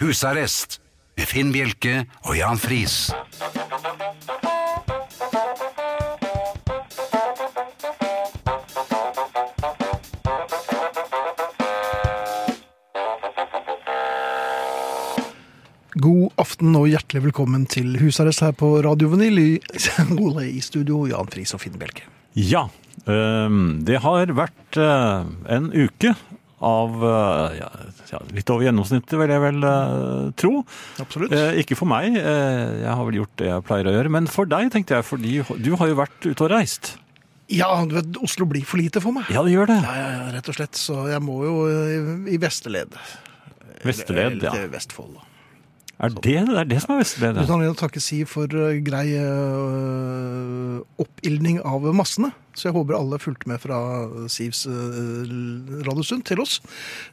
Husarrest med Finn Bjelke og Jan Friis. God aften og hjertelig velkommen til husarrest her på Radio Vinyl i, i studio, Jan Friis og Finn Bjelke. Ja, øhm, det har vært øh, en uke av øh, ja, ja, litt over gjennomsnittet, vil jeg vel øh, tro. Absolutt. Eh, Ikke for meg, eh, jeg har vel gjort det jeg pleier å gjøre, men for deg, tenkte jeg, fordi du har jo vært ute og reist. Ja, du vet, Oslo blir for lite for meg. Ja, det gjør det. Ja, ja, ja, rett og slett. Så jeg må jo eh, i vesteledd. Vesterled, ja. Eller til Vestfold. Er det, det er det som er Vesterled? Du ja. kan jo takke si for eh, grei eh, oppildning av massene. Så jeg håper alle fulgte med fra Sivs eh, radiosund til oss.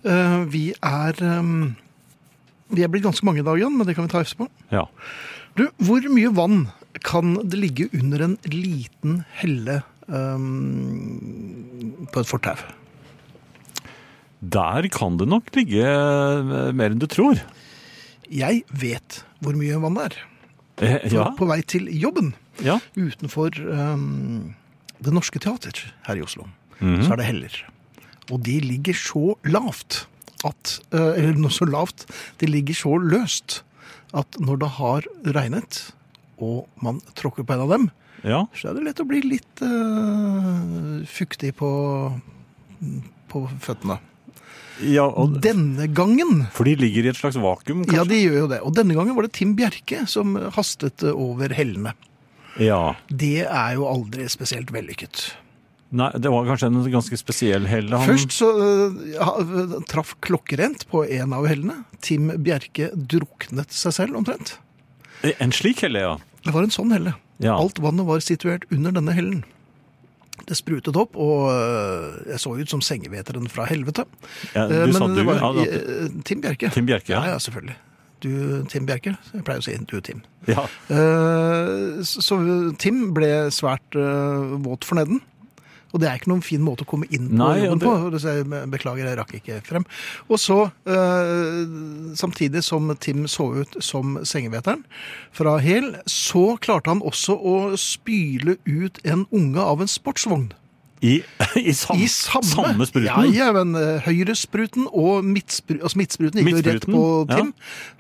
Eh, vi er eh, Vi er blitt ganske mange i dag, Jan, men det kan vi ta efse på. Ja. Du, hvor mye vann kan det ligge under en liten helle øhm, på et fortau? Der kan det nok ligge øh, mer enn du tror. Jeg vet hvor mye vann det er. Eh, For Ja, På vei til jobben ja. utenfor øhm, Det Norske Teater her i Oslo, så er det heller. Og de ligger så lavt at øh, Eller noe så lavt. De ligger så løst at når det har regnet, og man tråkker på en av dem, ja. så er det lett å bli litt eh, fuktig på, på føttene. ja og, Denne gangen for de ligger i et slags vakuum, Ja, kanskje? de gjør jo det. Og denne gangen var det Tim Bjerke som hastet over hellene. Ja. Det er jo aldri spesielt vellykket. Nei, det var kanskje en ganske spesiell helle. han- Først så eh, ha- traff klokkerent på en av hellene. Tim Bjerke druknet seg selv omtrent. En slik helle, ja. Det var en sånn helle. Ja. Alt vannet var situert under denne hellen. Det sprutet opp, og øh, jeg så ut som sengeveteren fra helvete. Ja, Eh, du sa det du, var ja, da- eh, Tim Bjerke. Tim Bjerke, ja. ja. Ja, selvfølgelig. Du, Tim Bjerke. Jeg pleier å si du, Tim. ja. Eh, så så Tim ble svært eh, våt for neden. Og det er ikke noen fin måte å komme inn på Nei, jobben og det- på. og det sier jeg, Beklager, jeg rakk ikke frem. Og så, eh, samtidig som Tim så ut som sengeveteren fra Hel, så klarte han også å spyle ut en unge av en sportsvogn. I, i, sam, I samme, spruten? Ja, ja, men eh, høyrespruten og midtspru, altså midtspruten gikk jo rett Midtspruten, på ja. Tim.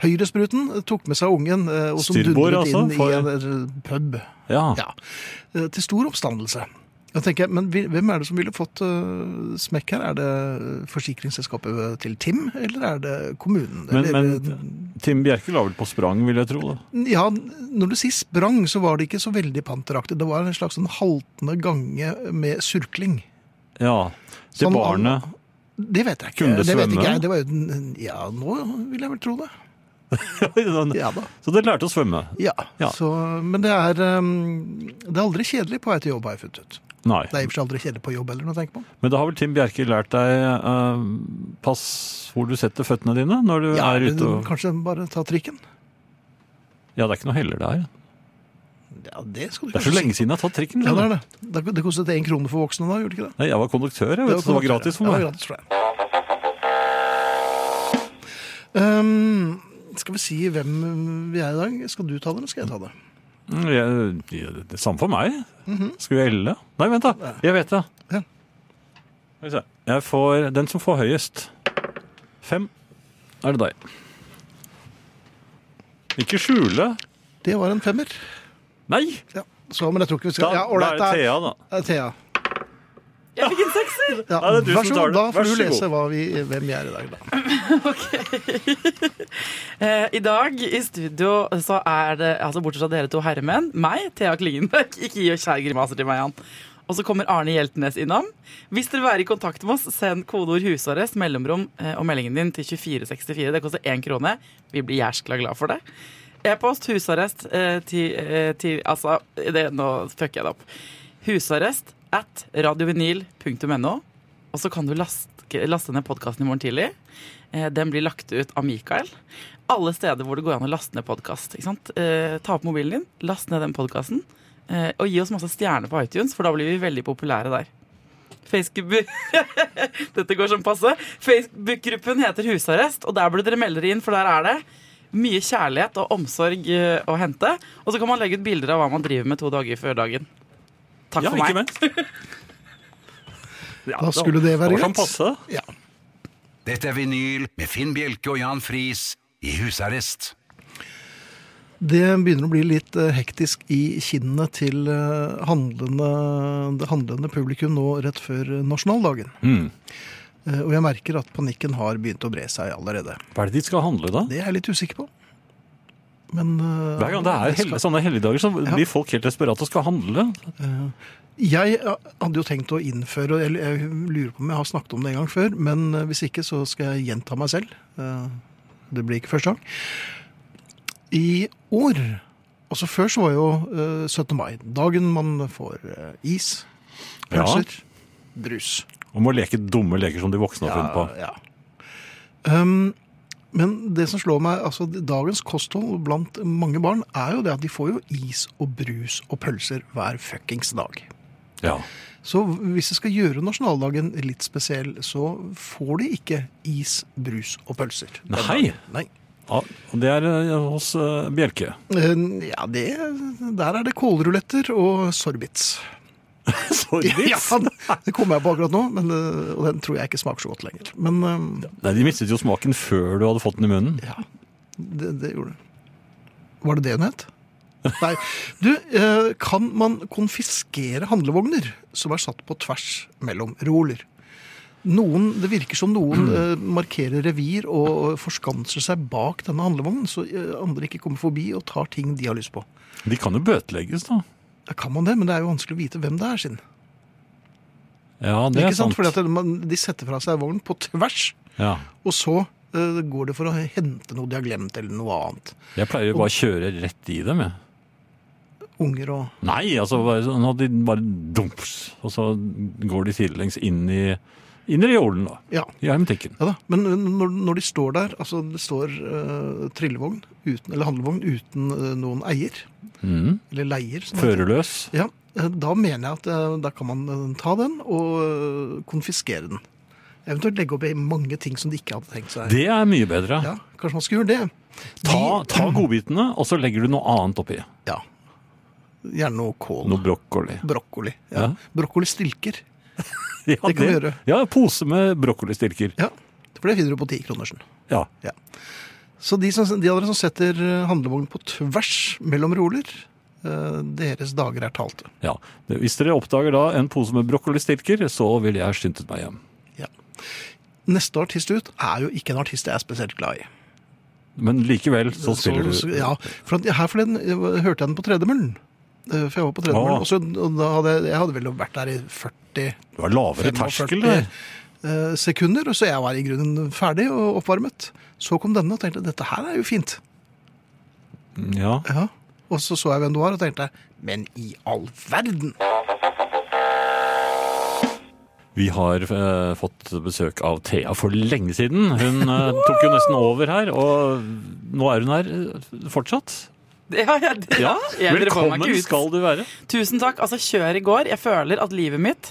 Høyrespruten tok med seg ungen eh, og som Styrbord, dundret altså, inn i for- en eh, pub. Ja. Ja. Eh, Til stor oppstandelse. Da tenker jeg, Men vi- hvem er det som ville fått eh, smekk her? Er det forsikringsselskapet eh, til Tim, eller er det kommunen? Men, eller, eh, men Tim Bjerke la vel på sprang, vil jeg tro. da. ja, når du sier sprang, så var det ikke så veldig panteraktig. Det var en slags sånn haltende gange med surkling. Ja. Det Sånn, barnet Det vet jeg ikke. Kunne det vet svømme? ikke jeg. Det var jo den, ja, nå vil jeg vel tro det. Ja da. sånn- Så det lærte å svømme? Ja, Ja. Så, men det er, um, det er aldri kjedelig på vei til jobb, har jeg funnet ut. Nei. Det er i og for seg aldri kjedelig på jobb heller, når jeg tenker på. Men da har vel Tim Bjerke lært deg eh, pass hvor du setter føttene dine når du Ja, er men ute og Kanskje bare ta trikken? Ja, det er ikke noe heller der. Ja, det skal du Det er så kanskje lenge si. siden jeg har tatt trikken. Ja, det skjønner er du. det. Det, det kostet én krone for voksne da, gjorde det ikke det? Nei, jeg var konduktør, jeg vet, så det var gratis for Ja, det meg. var gratis for deg. Ehm, skal vi si hvem vi er i dag? Skal du ta det, eller skal jeg ta det? Mm, jeg- jeg- det er Samme for meg. Skal vi elle? Nei, vent, da. Jeg vet det. Mhm. Ja. Skal vi se. Jeg får den som får høyest. Fem. Er det deg? Ikke skjule. Det var en femmer. Nei! Ja. Så, men jeg tror ikke vi skal Da, ja, ålreit, da er det Thea, da. Det er Thea. Jeg fikk en sekser! Ja, Ja, det er du vær som så tar god, det. da Vær får du så god. lese hva vi, hvem vi er i dag, da. Eh, I dag i studio så er det, altså bortsett fra dere to herremenn, meg, Thea Klingenberg, ikke gi og kjære grimaser til meg, Jan, og så kommer Arne Hjeltnes innom. Hvis dere vil være i kontakt med oss, send kodeord 'husarrest', mellomrom eh, og meldingen din til 2464. Det koster én krone. Vi blir jæskla glad for det. E-post husarrest eh, til, eh, til Altså, det, nå fucker jeg det opp. Husarrest at radiovinyl.no. Og så kan du laste, laste ned podkasten i morgen tidlig. Eh, Den blir lagt ut av Mikael. Alle steder hvor det går an å laste ned podkast. Eh, ta opp mobilen din, last ned den podkasten, eh, og gi oss masse stjerner på iTunes, for da blir vi veldig populære der. Facebook Dette går som passe. Facebook-gruppen heter Husarrest, og der burde dere melde dere inn, for der er det mye kjærlighet og omsorg eh, å hente. Og så kan man legge ut bilder av hva man driver med to dager før dagen. Takk Ja, for meg. ikke minst. Ja, Da skulle det være var sånn greit. passe. Ja. Dette er vinyl med Finn Bjelke og Jan Friis i husarrest. Det begynner å bli litt eh, hektisk i kinnene til eh, handlende, det handlende publikum nå rett før eh, nasjonaldagen. Eh, Og jeg merker at panikken har begynt å bre seg allerede. Hva er det de skal handle, da? Det er jeg litt usikker på. Men eh, Hver gang det er hel- sånne helligdager, så blir folk helt desperate og skal handle. Jeg eh, hadde jo tenkt å innføre eller Jeg lurer på om jeg har snakket om det en gang før, men eh, hvis ikke så skal jeg gjenta meg selv. Eh, Det blir ikke første gang. I år Altså Før så var jo eh, 17. mai dagen man får eh, is, Ja. pølser, brus. Og må leke dumme leker som de voksne har funnet på. Ja, ja. Um, men det som slår meg, altså dagens kosthold blant mange barn, er jo det at de får jo is og brus og pølser hver fuckings dag. Ja. Så hvis jeg skal gjøre nasjonaldagen litt spesiell, så får de ikke is, brus og pølser. den Nei. dagen. Nei. Ja, og det er eh, hos eh, Bjelke. Eh, Ja, det, der er det kålruletter og sorbits. Sorry. Ja, det kommer jeg på akkurat nå, men, eh, og den tror jeg ikke smaker så godt lenger. Men eh, Nei, De mistet jo smaken før du hadde fått den i munnen. ja, det, det gjorde det. Var det det hun het? Nei. Du, eh, kan man konfiskere handlevogner som er satt på tvers mellom reoler? Noen, det virker som Mm. noen eh, markerer revir og forskanser seg bak denne handlevognen, så eh, andre ikke kommer forbi og tar ting de har lyst på. De kan jo bøtelegges, da. Ja, kan man det, men det er jo vanskelig å vite hvem det er sin. Ja, det Ikke er sant. sant? Fordi at det- man, de setter fra seg vognen på tvers, Ja. og så eh, går det for å hente noe de har glemt, eller noe annet. Jeg pleier jo bare å kjøre rett i dem, jeg. Unger og Nei, altså bare sånn at de bare dumps, og så går de sidelengs inn i, inn i reolen, da. Ja. I hermetikken. Ja da, Men når, når de står der, altså det står eh, trillevogn uten, eller handlevogn uten eh, noen eier, Mm. eller leier som det heter. Førerløs. Ja, eh, da mener jeg at eh, da kan man eh, ta den og eh, konfiskere den. Eventuelt legge opp i mange ting som de ikke hadde tenkt seg. Det er mye bedre. Ja, Kanskje man skulle gjøre det. Ta, ta godbitene, og så legger du noe annet oppi. Ja. Gjerne noe kål. Noe brokkoli. Brokkoli. Ja. Ja. Brokkolistilker. Ja, Det kan vi gjøre. Ja, pose med brokkolistilker. Ja, for det finner du på 10-kronersen. Ja. Så de, som, de av dere som setter eh, handlevognen på tvers mellom roller, eh, deres dager er talte. ja. Hvis dere oppdager da en pose med brokkolistilker, så vil jeg skyndet meg hjem. Neste artist ut er jo ikke en artist jeg er spesielt glad i. Men likevel så spiller Så- så- du. Ja, for at her forleden eh, hørte jeg den på tredemøllen. Eh, For jeg var på tredemøllen, Ah. og, så, og da hadde jeg, jeg hadde vel vært der i 40 Du har lavere terskel der. 45 eh, sekunder, og så jeg var i grunnen ferdig og oppvarmet. Så kom denne og tenkte, dette her er jo fint. Ja. Ja. Og så så jeg hvem det var og tenkte, men i all verden! Vi har eh, fått besøk av Thea for lenge siden. Hun eh, tok jo nesten over her, og nå er hun her eh, fortsatt. Ja, ja, det, Ja, jeg- dere får meg Velkommen ikke ut. skal du være. Tusen takk. Altså, kjør i går. Jeg føler at livet mitt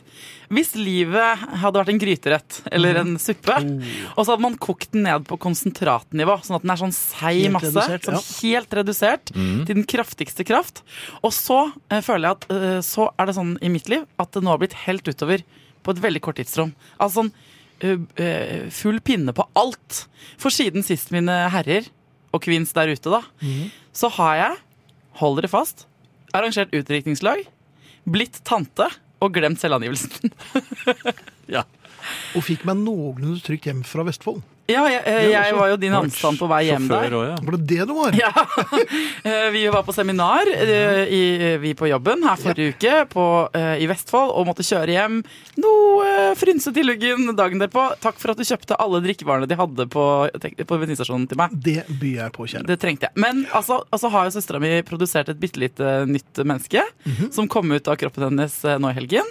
Hvis livet hadde vært en gryterett Mhm. eller en suppe, Oh. og så hadde man kokt den ned på konsentratnivå, sånn at den er sånn seig Helt masse, redusert, sånn ja. helt redusert til den kraftigste kraft, og så eh, føler jeg at eh, så er det sånn i mitt liv at det nå har blitt helt utover på et veldig kort tidsrom. Altså sånn eh, eh, full pinne på alt. For siden sist, mine herrer og kvinns der ute, da, Mhm. så har jeg Hold dere fast. Arrangert utdrikningslag. Blitt tante. Og glemt selvangivelsen. Ja. Og fikk meg noenlunde trygt hjem fra Vestfold. Ja, jeg, eh, jeg var jo din Du har vært anstand på vei hjem sjåfør der. også, ja. Var det det du var? Ja. Eh, Vi var på seminar, eh, i, vi på jobben, her forrige uke på, eh, i Vestfold, og måtte kjøre hjem noe eh, frynset i luggen dagen derpå. Takk for at du kjøpte alle drikkevarene de hadde på, på bensinstasjonen til meg. Det byr jeg på, kjære. Det trengte jeg. Men altså, altså har jo søstera mi produsert et bitte lite eh, nytt menneske som kom ut av kroppen hennes eh, nå i helgen.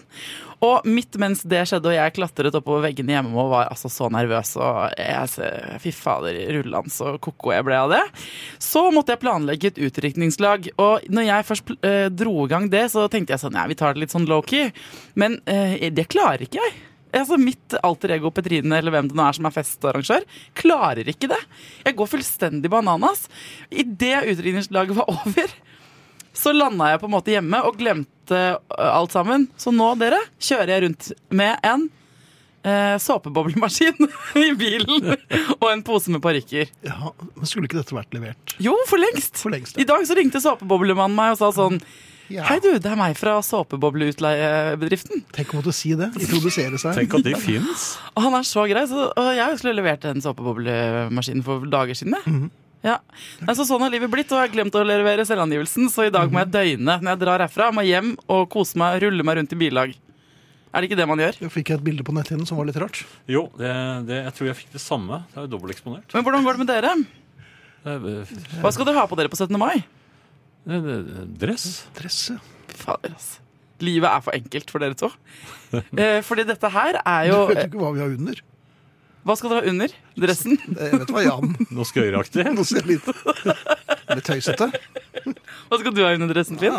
Og midt mens det skjedde og jeg klatret oppover veggene hjemme og var altså så nervøs og jeg, ser- Fy fader, rullan så ko-ko jeg ble av det. Så måtte jeg planlegge et utdrikningslag. Og når jeg først pl- eh, dro i gang det, så tenkte jeg sånn Nei, vi tar det litt sånn low-key. Men eh, det klarer ikke jeg. Altså Mitt alter ego Petrine eller hvem det nå er som er festarrangør, klarer ikke det. Jeg går fullstendig bananas. Idet utdrikningslaget var over, så landa jeg på en måte hjemme og glemte ø, alt sammen. Så nå, dere, kjører jeg rundt med en eh, såpeboblemaskin i bilen og en pose med parykker. Ja, men skulle ikke dette vært levert? Jo, for lengst. For lengst, ja. I dag så ringte såpeboblemannen meg og sa sånn Ja. Hei, du, det er meg fra såpebobleutleiebedriften. Tenk å måtte si det. Introdusere seg. Tenk at de fins. Og han er så grei. Så, og jeg skulle levert en såpeboblemaskin for dager siden. jeg. Ja. Nei, så sånn har livet blitt, og jeg har glemt å levere selvangivelsen. Så i dag må jeg døgne når jeg drar herfra. Må hjem og kose meg, rulle meg rundt i billag. Er det ikke det man gjør? Jeg fikk et bilde på netthinnen som var litt rart. Jo, det, det, jeg tror jeg fikk det samme. Det er jo dobbelteksponert. Men hvordan går det med dere? Det Hva skal dere ha på dere på 17. mai? er- det er Dress. Dresse. Fy Fader, altså. Livet er for enkelt for dere to. Eh, fordi dette her er jo Jeg vet eh, jo ikke hva vi har under. Hva skal dere ha under dressen? Jeg vet hva Jan Noe skøyeraktig. Nå ser jeg litt Litt tøysete. Hva skal du ha under dressen, Finn?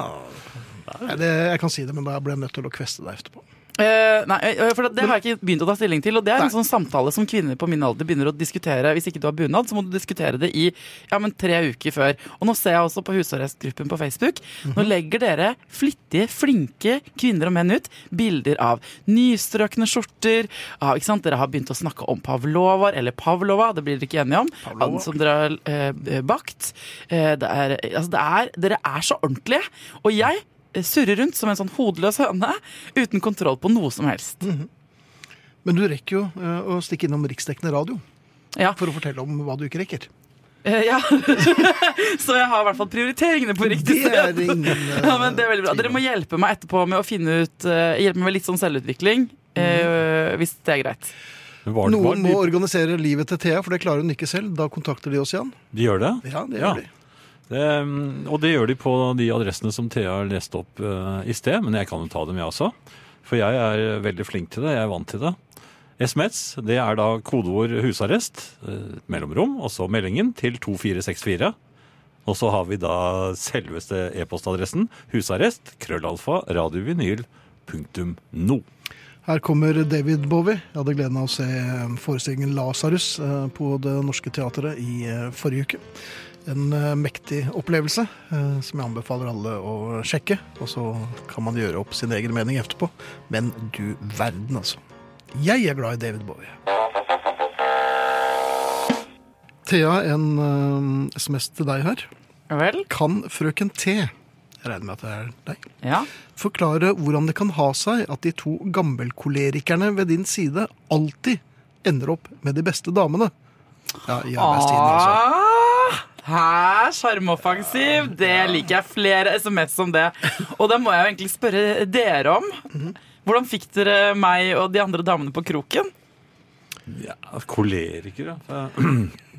Nei, det, jeg kan si det, men da blir jeg nødt til å kveste deg etterpå. Eh, nei, eh, for Det har jeg ikke begynt å ta stilling til. Og Det er en Nei. sånn samtale som kvinner på min alder begynner å diskutere. Hvis ikke du har bunad, så må du diskutere det i ja, men tre uker før. Og Nå ser jeg også på husarrestgruppen på Facebook. Nå legger dere flittige, flinke kvinner og menn ut bilder av nystrøkne skjorter. Av, ikke sant? Dere har begynt å snakke om pavlovaer, eller pavlova, det blir dere ikke enige om. Pavlova. Som dere har eh, bakt. Eh, det er, altså det er, dere er så ordentlige. Og jeg surrer rundt som en sånn hodeløs høne uten kontroll på noe som helst. Men du rekker jo eh, å stikke innom riksdekkende radio Ja, for å fortelle om hva du ikke rekker. eh, ja. Så jeg har i hvert fall prioriteringene på riktig Det er sted. ingen eh, Ja, men det er veldig bra. Dere må hjelpe meg etterpå med å finne ut eh, Hjelpe meg med litt sånn selvutvikling, eh, Mm. hvis det er greit. Var, var, eh, Noen må de, organisere livet til Thea, for det klarer hun ikke selv. Da kontakter de oss igjen. de gjør det? Ja, det Ja. gjør de. Det, mm, og det gjør de på de adressene som Thea leste opp eh, i sted, men jeg kan jo ta dem, jeg også. For jeg er veldig flink til det. Jeg er vant til det. SMS det er da kodeord husarrest, eh, mellomrom, og så meldingen til 2464. Og så har vi da selveste e-postadressen husarrest krøllalfa radiovinyl punktum no. Her kommer David Bowie. Jeg hadde gleden av å se eh, forestillingen Lasarus på Det Norske Teatret i eh, forrige uke. En eh, mektig opplevelse eh, som jeg anbefaler alle å sjekke. Og så kan man gjøre opp sin egen mening etterpå. Men du verden, altså. Jeg er glad i David Bowie. Thea, en eh, SMS til deg her. Vel? Kan frøken T Jeg regner med at det er deg Ja. forklare hvordan det kan ha seg at de to gammelkolerikerne ved din side alltid ender opp med de beste damene. Ja, i arbeidstiden, altså. Ah, Hæ? Sjarmoffensiv? Det liker jeg. Flere SMS om det. Og da må jeg jo egentlig spørre dere om. Mm-hmm. Hvordan fikk dere meg og de andre damene på kroken? Ja, koleriker, ja.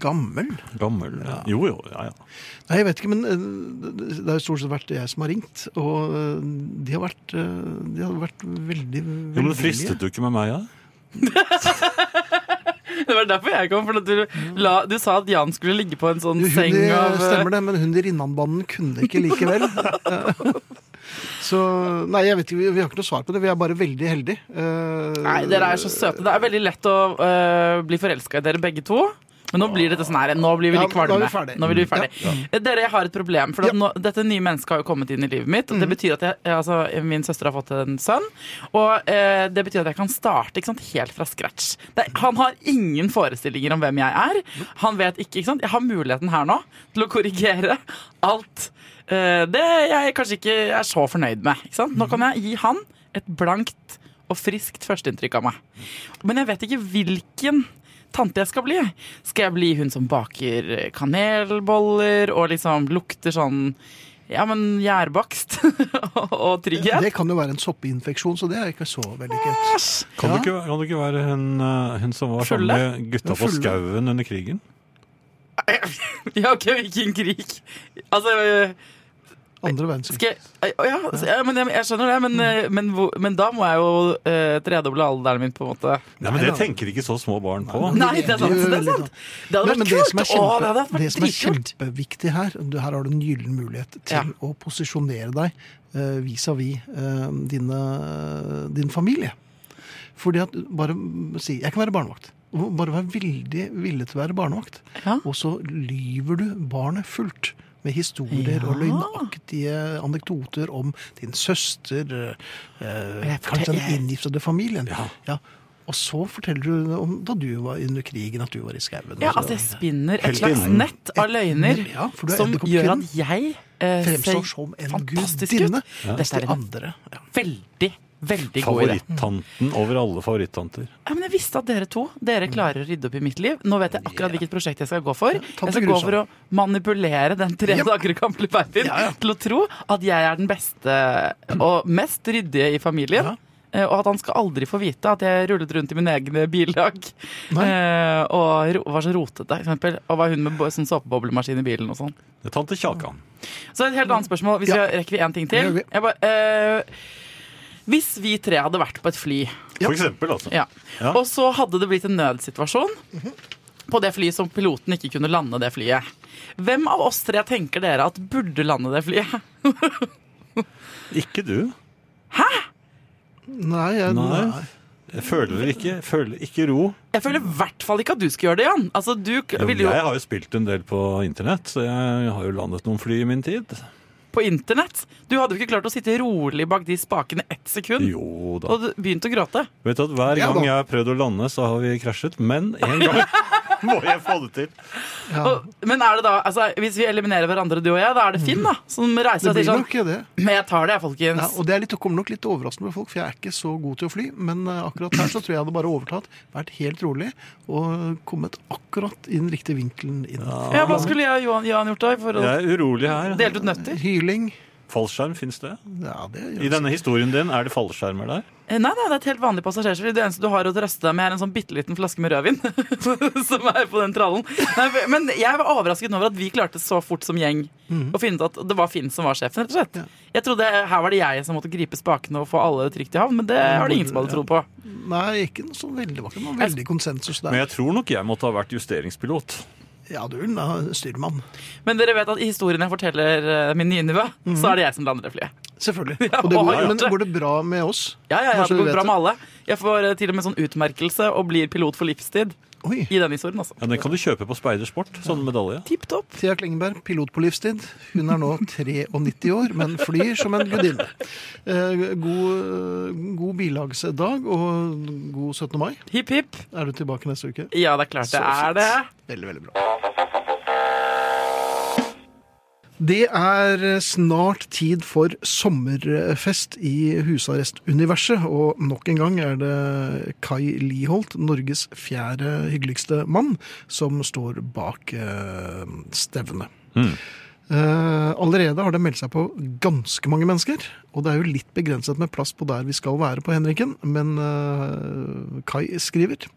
Gammel? Gammel. Ja. Jo, jo. Ja, ja. Nei, jeg vet ikke, men eh, det har jo stort sett vært jeg som har ringt. Og eh, de har vært, eh, de har vært veldig Jo, men velvillige. det fristet du ikke med meg, da? Det var derfor jeg kom. For at du, la, du sa at Jan skulle ligge på en sånn Jo, seng Hun i, av stemmer det, men hun i Rinnanbanen kunne ikke likevel. Eh, Så Nei, jeg vet ikke, vi, vi har ikke noe svar på det. Vi er bare veldig heldige. Eh, Nei, dere er så søte. Det er veldig lett å øh, bli forelska i dere begge to. Men nå blir dette sånn her. Nå blir vi Ja, litt kvalme. nå er vi ferdig. Nå blir vi ferdig. Dere, jeg har et problem. For at nå, dette nye mennesket har jo kommet inn i livet mitt. Og det betyr at jeg, altså, Min søster har fått en sønn. Og eh, det betyr at jeg kan starte ikke sant, helt fra scratch. Det, han har ingen forestillinger om hvem jeg er. Han vet ikke, ikke sant? Jeg har muligheten her nå til å korrigere alt eh, det jeg kanskje ikke er så fornøyd med. Ikke sant? Nå kan jeg gi han et blankt og friskt førsteinntrykk av meg. Men jeg vet ikke hvilken tante jeg skal bli. Skal jeg bli hun som baker eh, kanelboller og liksom lukter sånn ja, men gjærbakst og- og trygghet? Det kan jo være en soppinfeksjon, så det er ikke så vellykket. Kan, Ja. du ikke, kan du ikke være hun, eh, hun som var Fulle? sammen med gutta på Fulle. skauen under krigen? Ja, ok, hvilken krig? Altså eh, Andre verdenskrig. Skal jeg, å ja, så- ja, men jeg, jeg skjønner det, Mm. men, eh, men, hvor- men da må jeg jo eh, tredoble alderen min, på en måte. Nei, men Det tenker ikke så små barn på. Nei, det er sant! Det, gjør er litt sant. det hadde Men, men vært det som er, kult! Å, kjempe, det hadde vært det som er dritkult! kjempeviktig her du, Her har du en gyllen mulighet til Ja. å posisjonere deg eh, vis-à-vis eh, dine- din familie. Fordi at bare si 'jeg kan være barnevakt'. Bare vær veldig villig til å være barnevakt. Ja. Og så lyver du barnet fullt. Med historier og løgnaktige anekdoter om din søster, eh, Jeg kanskje fortel- den inngiftede familien. Ja. Og så forteller du om da du var under krigen, at du var i skauen. Ja, og så- altså jeg spinner et Helt slags innen. nett av løgner Ja, for du er som gjør edderkoppkvinnen. at jeg eh, Fremstår ser som en fantastisk gudinne. ut. Dette er De en andre. Ja. veldig, veldig god idé. Favorittanten over alle favorittanter. Ja, men jeg visste at dere to dere klarer å rydde opp i mitt liv. Nå vet jeg akkurat hvilket prosjekt jeg skal gå for. tante Jeg skal gå Grusom. for å manipulere den tre Ja. dager gamle babyen til å tro at jeg er den beste og mest ryddige i familien. Ja. eh, Og at han skal aldri få vite at jeg rullet rundt i mine egne billag Nei. eh, og ro- var så rotete, for eksempel. Og var hun med bo- sånn såpeboblemaskin i bilen og sånn. Det er Tante Kjakan. Så et helt annet spørsmål. Hvis Ja. vi rekker vi én ting Det til? gjør vi. Jeg bare, eh, hvis vi tre hadde vært på et fly, For eksempel, altså. ja. Ja. og så hadde det blitt en nødsituasjon Mhm. på det flyet som piloten ikke kunne lande det flyet, hvem av oss tre tenker dere at burde lande det flyet? Ikke du. Nei, jeg, Nei. nei. Jeg føler ikke, føler ikke ro. Jeg føler i hvert fall ikke at du skulle gjøre det, Jan. Altså, du k- ville jo Jeg har jo spilt en del på internett, så jeg har jo landet noen fly i min tid. på internett. Du hadde jo ikke klart å sitte rolig bak de spakene ett sekund. Jo da. Og du begynte å gråte. Vet du at Hver Ja da. gang jeg har prøvd å lande, så har vi krasjet. Men en gang må jeg få det til. Ja. Og, men er det da, altså, hvis vi eliminerer hverandre, du og jeg, da er det Finn da, som reiser Det og sier blir sånn nok ikke det. Men jeg tar det, jeg, folkens. Ja, og det er litt, det kommer nok litt overraskende for folk, for jeg er ikke så god til å fly. Men eh, akkurat her så tror jeg jeg hadde bare overtatt, vært helt rolig og kommet akkurat i den riktige vinkelen inn. ja, hva skulle jeg og Johan, Johan gjort da? For å Jeg er urolig her. Delt ut nøtter? Hyling Fallskjerm, fins det? ja, det gjør I denne historien din, er det fallskjermer der? Eh, Nei, nei, det er et helt vanlig passasjerfly. Det eneste du har å trøste deg med, er en sånn bitte liten flaske med rødvin som er på den trallen. Nei, men jeg var overrasket over at vi klarte så fort som gjeng Mm. å finne ut at det var Finn som var sjefen, rett og slett. Jeg trodde eh, her var det jeg som måtte gripe spakene og få alle trygt i havn, men det har det ingen som hadde trodd på. Nei, ikke noe sånn veldig vakkert. Noe veldig konsensus Men der. jeg tror nok jeg måtte ha vært justeringspilot. Ja, du vil da styrmann. Men dere vet at i historien jeg forteller eh, min nynivå, Mm. så er det jeg som lander det flyet. Selvfølgelig. Ja, Og det og går, har gjort men det. går det bra med oss? Ja, ja, ja, Bare så du det går vet bra med alle. Jeg får eh, til og med sånn utmerkelse og blir pilot for livstid Oi. i den historien, altså. Ja, Den kan du kjøpe på Speidersport, sånn medalje. Tipp topp. Thea Klingenberg, pilot på livstid. Hun er nå 93 år, men flyr som en gudinne. Eh, God, eh, god bilagsdag og god 17. mai. Hipp, hipp. Er du tilbake neste uke? Ja, det er klart det er det. Veldig, veldig bra. Det er snart tid for sommerfest i husarrestuniverset, og nok en gang er det Kai Liholt, Norges fjerde hyggeligste mann, som står bak eh, stevnet. Eh, allerede har det meldt seg på ganske mange mennesker, og det er jo litt begrenset med plass på der vi skal være på Henriken, men eh, Kai skriver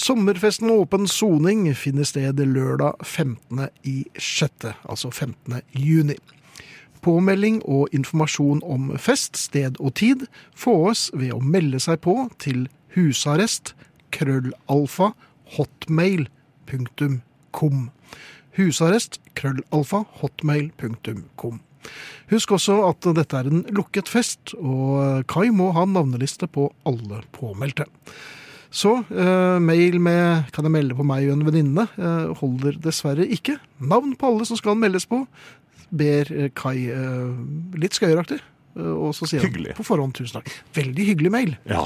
Sommerfesten Åpen soning finner sted lørdag 15. i 6., altså 15. juni. Påmelding og informasjon om fest, sted og tid fås ved å melde seg på til husarrest krøllalfa hotmail.com. Husarrest krøllalfa hotmail.com. Husk også at dette er en lukket fest, og Kai må ha navneliste på alle påmeldte. Så eh, mail med 'kan jeg melde på meg og en venninne' eh, holder dessverre ikke. Navn på alle som skal meldes på, ber eh, Kai eh, litt skøyeraktig. eh, og så sier Hyggelig. han på forhånd 'tusen takk'. Veldig hyggelig mail. Ja,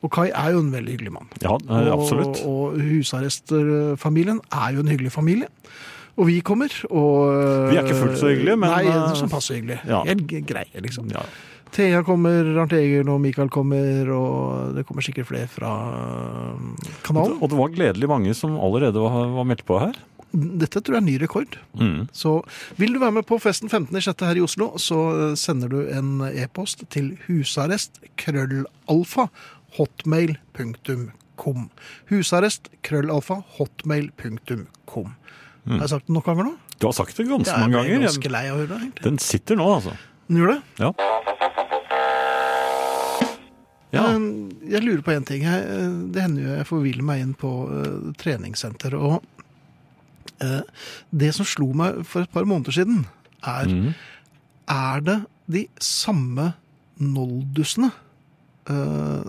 Og Kai er jo en veldig hyggelig mann. ja eh, absolutt. Og, og husarrestfamilien er jo en hyggelig familie. Og vi kommer, og eh, Vi er ikke fullt så hyggelige, men, Nei, eh, sånn passe hyggelige. ja. Helt greie, liksom. Ja. Thea kommer, Arnt Egil og Mikael kommer, og det kommer sikkert flere fra um, kanalen. Og det var gledelig mange som allerede var, var meldt på her. Dette tror jeg er ny rekord. Mm. Så vil du være med på festen 15.6. her i Oslo, så eh, sender du en e-post til husarrest krøllalfa hotmail.com. Husarrest krøllalfa hotmail.com. Har jeg sagt det nok ganger nå? Du har sagt det ganske Jeg er Mm. mange ganger. ganske lei av å høre det, egentlig. Den sitter nå, altså. Den gjør det? Ja. ja. Men Ehm, Jeg lurer på én ting. Jeg, eh, det hender jo jeg forviller meg inn på eh, treningssenter. Og eh, det som slo meg for et par måneder siden, er Er det de samme noldusene eh,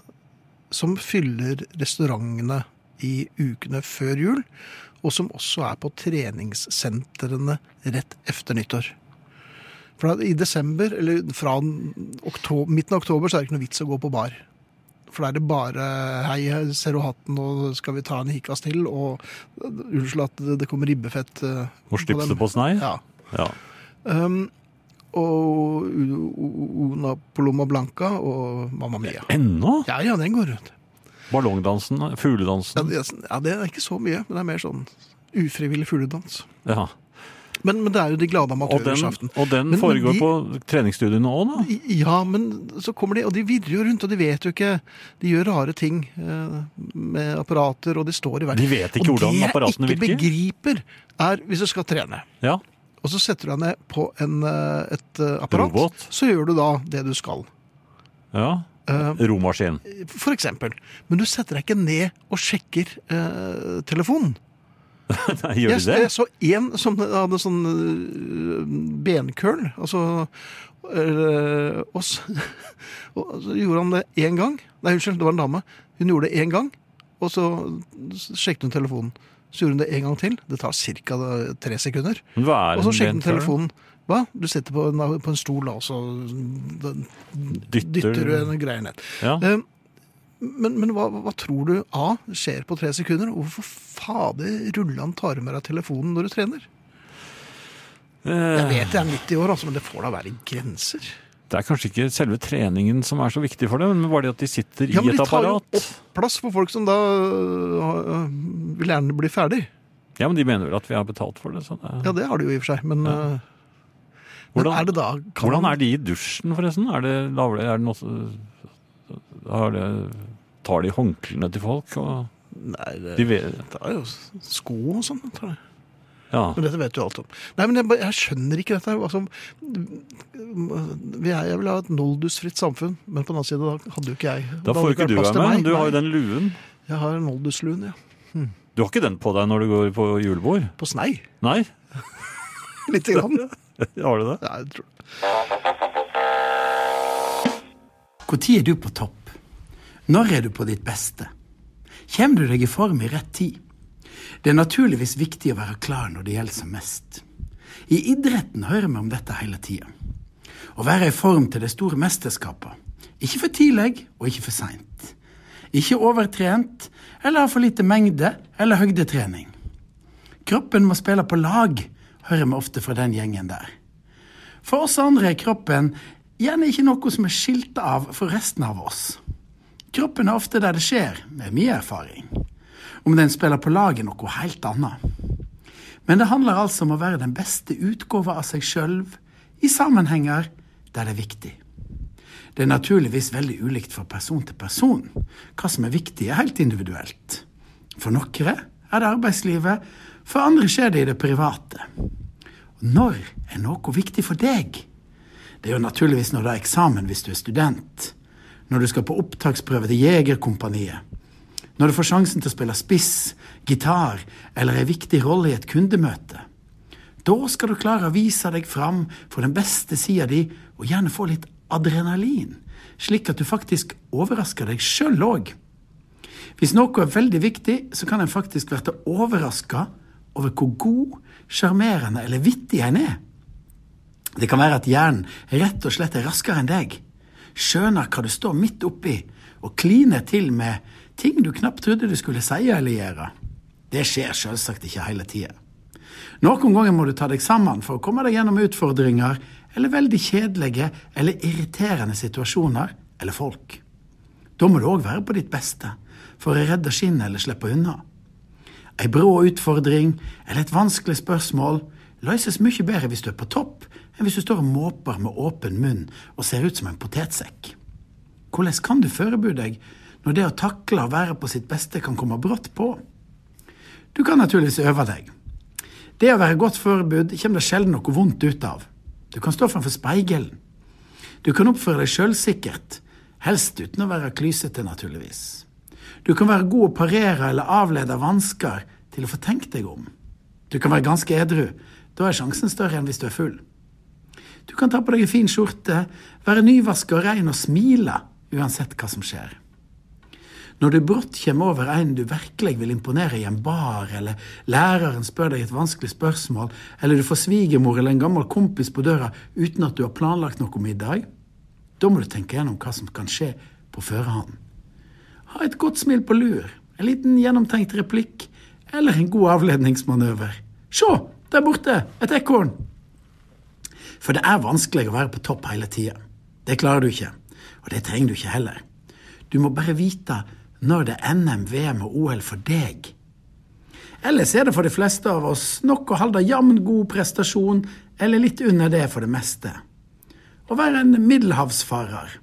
som fyller restaurantene i ukene før jul, og som også er på treningssentrene rett efter nyttår? For da, I desember, eller fra oktober, midten av oktober, så er det ikke noe vits å gå på bar. For da er det bare 'hei, her ser du hatten, og skal vi ta en hikas til?' Og uh, unnskyld at det, det kommer ribbefett eh, Må slippe det på snei. Ja. Ja. Um, og U- U- Una Poloma Blanca og Mamma Mia. Ennå? Ja, ja, den går rundt. Ballongdansen, Ja, fugledansen. det, ja, det er ikke så mye, men det er mer sånn ufrivillig fugledans. Ja. Men, men det er jo de glade Og den, amatørers aften. og den Men- men foregår de- på treningsstudiene òg, da? I- Ja, men så kommer de, og de virrer jo rundt, og de vet jo ikke De gjør rare ting eh, med apparater, og de står i verden. De vet ikke og hvordan det jeg apparatene ikke virker. begriper, er hvis du skal trene, Ja. og så setter du deg ned på en, eh, et eh, apparat, Robot. så gjør du da det du skal. ja. Eh, Romaskin. For eksempel. Men du setter deg ikke ned og sjekker eh, telefonen. Nei, Gjør jeg, de det? jeg så en som hadde sånn øh, benkøl, altså øh, Og så og så gjorde han det én gang. Nei, unnskyld, det var en dame. Hun gjorde det én gang, og så sjekket hun telefonen. Så gjorde hun det en gang til. Det tar ca. tre sekunder. Men Hva er Og så en sjekket hun benfør? telefonen. Hva? Du sitter på en, på en stol, da, og så den- Dytter- dytter du en greie ned. Ja. Eh, Men, men hva, hva tror du A skjer på tre sekunder? Og Hvorfor fader rullan tar du med deg telefonen når du trener? Jeg Eh, vet jeg er 90 år, altså, men det får da være grenser. Det er kanskje ikke selve treningen som er så viktig for dem, men bare det at de sitter i Ja, men et de tar jo apparat. opp plass for folk som da øh, øh, vil gjerne bli ferdig. Ja, men de mener vel at vi har betalt for det. Så det... Ja, det har de jo i og for seg, men, øh, men Hvordan- er det da kan Hvordan man- er de i dusjen, forresten? Er det lavere, er det noe har det, Tar de håndklærne til folk? Og Nei, det, de vet, det er jo s- sko og sånn. tror jeg. ja. Men dette vet du alt om. Nei, men jeg, bare- jeg skjønner ikke dette. her, Altså, vi er, jeg vil ha et noldusfritt samfunn, men på den annen side da hadde jo ikke jeg Da hadde får jo ikke vært du plass være til med. meg. men Du har jo Nei, den luen. Jeg har en noldusluen, ja. Du har ikke den på deg når du går på julebord? På snei. Nei? Lite grann. Har du det? Ja, jeg tror det. Når er du på topp? Når er du på ditt beste? Kommer du deg i form i rett tid? Det er naturligvis viktig å være klar når det gjelder som mest. I idretten hører vi om dette hele tida. Å være i form til de store mesterskapene. Ikke for tidlig, og ikke for seint. Ikke overtrent, eller ha for lite mengde eller høydetrening. Kroppen må spille på lag, hører vi ofte fra den gjengen der. For oss andre er kroppen gjerne ikke noe som er skilt av for resten av oss. Kroppen er ofte der det skjer, med mye erfaring. Om den spiller på lag er noe helt annet. Men det handler altså om å være den beste utgåva av seg sjøl i sammenhenger der det er viktig. Det er naturligvis veldig ulikt fra person til person. Hva som er viktig, er helt individuelt. For noen er det arbeidslivet, for andre skjer det i det private. Når er noe viktig for deg? Det er jo naturligvis når det er eksamen hvis du er student. Når du skal på opptaksprøve til Jegerkompaniet. Når du får sjansen til å spille spiss, gitar eller en viktig rolle i et kundemøte. Da skal du klare å vise deg fram for den beste sida di, og gjerne få litt adrenalin, slik at du faktisk overrasker deg sjøl òg. Hvis noe er veldig viktig, så kan en faktisk bli overraska over hvor god, sjarmerende eller vittig en er. Det kan være at hjernen rett og slett er raskere enn deg, skjønner hva du står midt oppi, og kliner til med ting du knapt trodde du skulle si eller gjøre. Det skjer selvsagt ikke hele tida. Noen ganger må du ta deg sammen for å komme deg gjennom utfordringer eller veldig kjedelige eller irriterende situasjoner eller folk. Da må du òg være på ditt beste for å redde skinnet eller slippe unna. Ei brå utfordring eller et vanskelig spørsmål løses mye bedre hvis du er på topp, enn hvis du står og måper med åpen munn og ser ut som en potetsekk. Hvordan kan du forberede deg når det å takle og være på sitt beste kan komme brått på? Du kan naturligvis øve deg. Det å være godt forberedt kommer det sjelden noe vondt ut av. Du kan stå framfor speilet. Du kan oppføre deg sjølsikkert, helst uten å være klysete, naturligvis. Du kan være god å parere eller avlede vansker til å få tenkt deg om. Du kan være ganske edru. Da er sjansen større enn hvis du er full. Du kan ta på deg en fin skjorte, være nyvaska og rein og smile uansett hva som skjer. Når du brått kommer over en du virkelig vil imponere i en bar, eller læreren spør deg et vanskelig spørsmål, eller du får svigermor eller en gammel kompis på døra uten at du har planlagt noe middag, da må du tenke gjennom hva som kan skje på førerhånd. Ha et godt smil på lur, en liten gjennomtenkt replikk eller en god avledningsmanøver. Se, der borte, et ekorn! For det er vanskelig å være på topp hele tida. Det klarer du ikke, og det trenger du ikke heller. Du må bare vite når det er NM, VM og OL for deg. Ellers er det for de fleste av oss nok å holde jevn god prestasjon, eller litt under det for det meste. Å være en middelhavsfarer.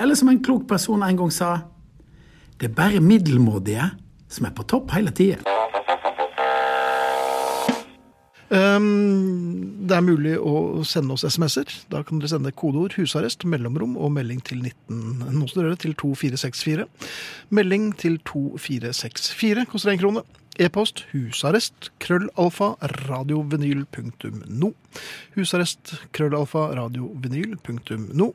Eller som en klok person en gang sa, det er bare middelmådige som er på topp hele tida. Ehm, det er mulig å sende oss SMS-er. Da kan dere sende kodeord 'husarrest', mellomrom og melding til 19... Nå står dere til 2464. Melding til 2464 koster én krone. E-post husarrest krøllalfa radiovinyl punktum no. Husarrest krøllalfa radiovinyl punktum no.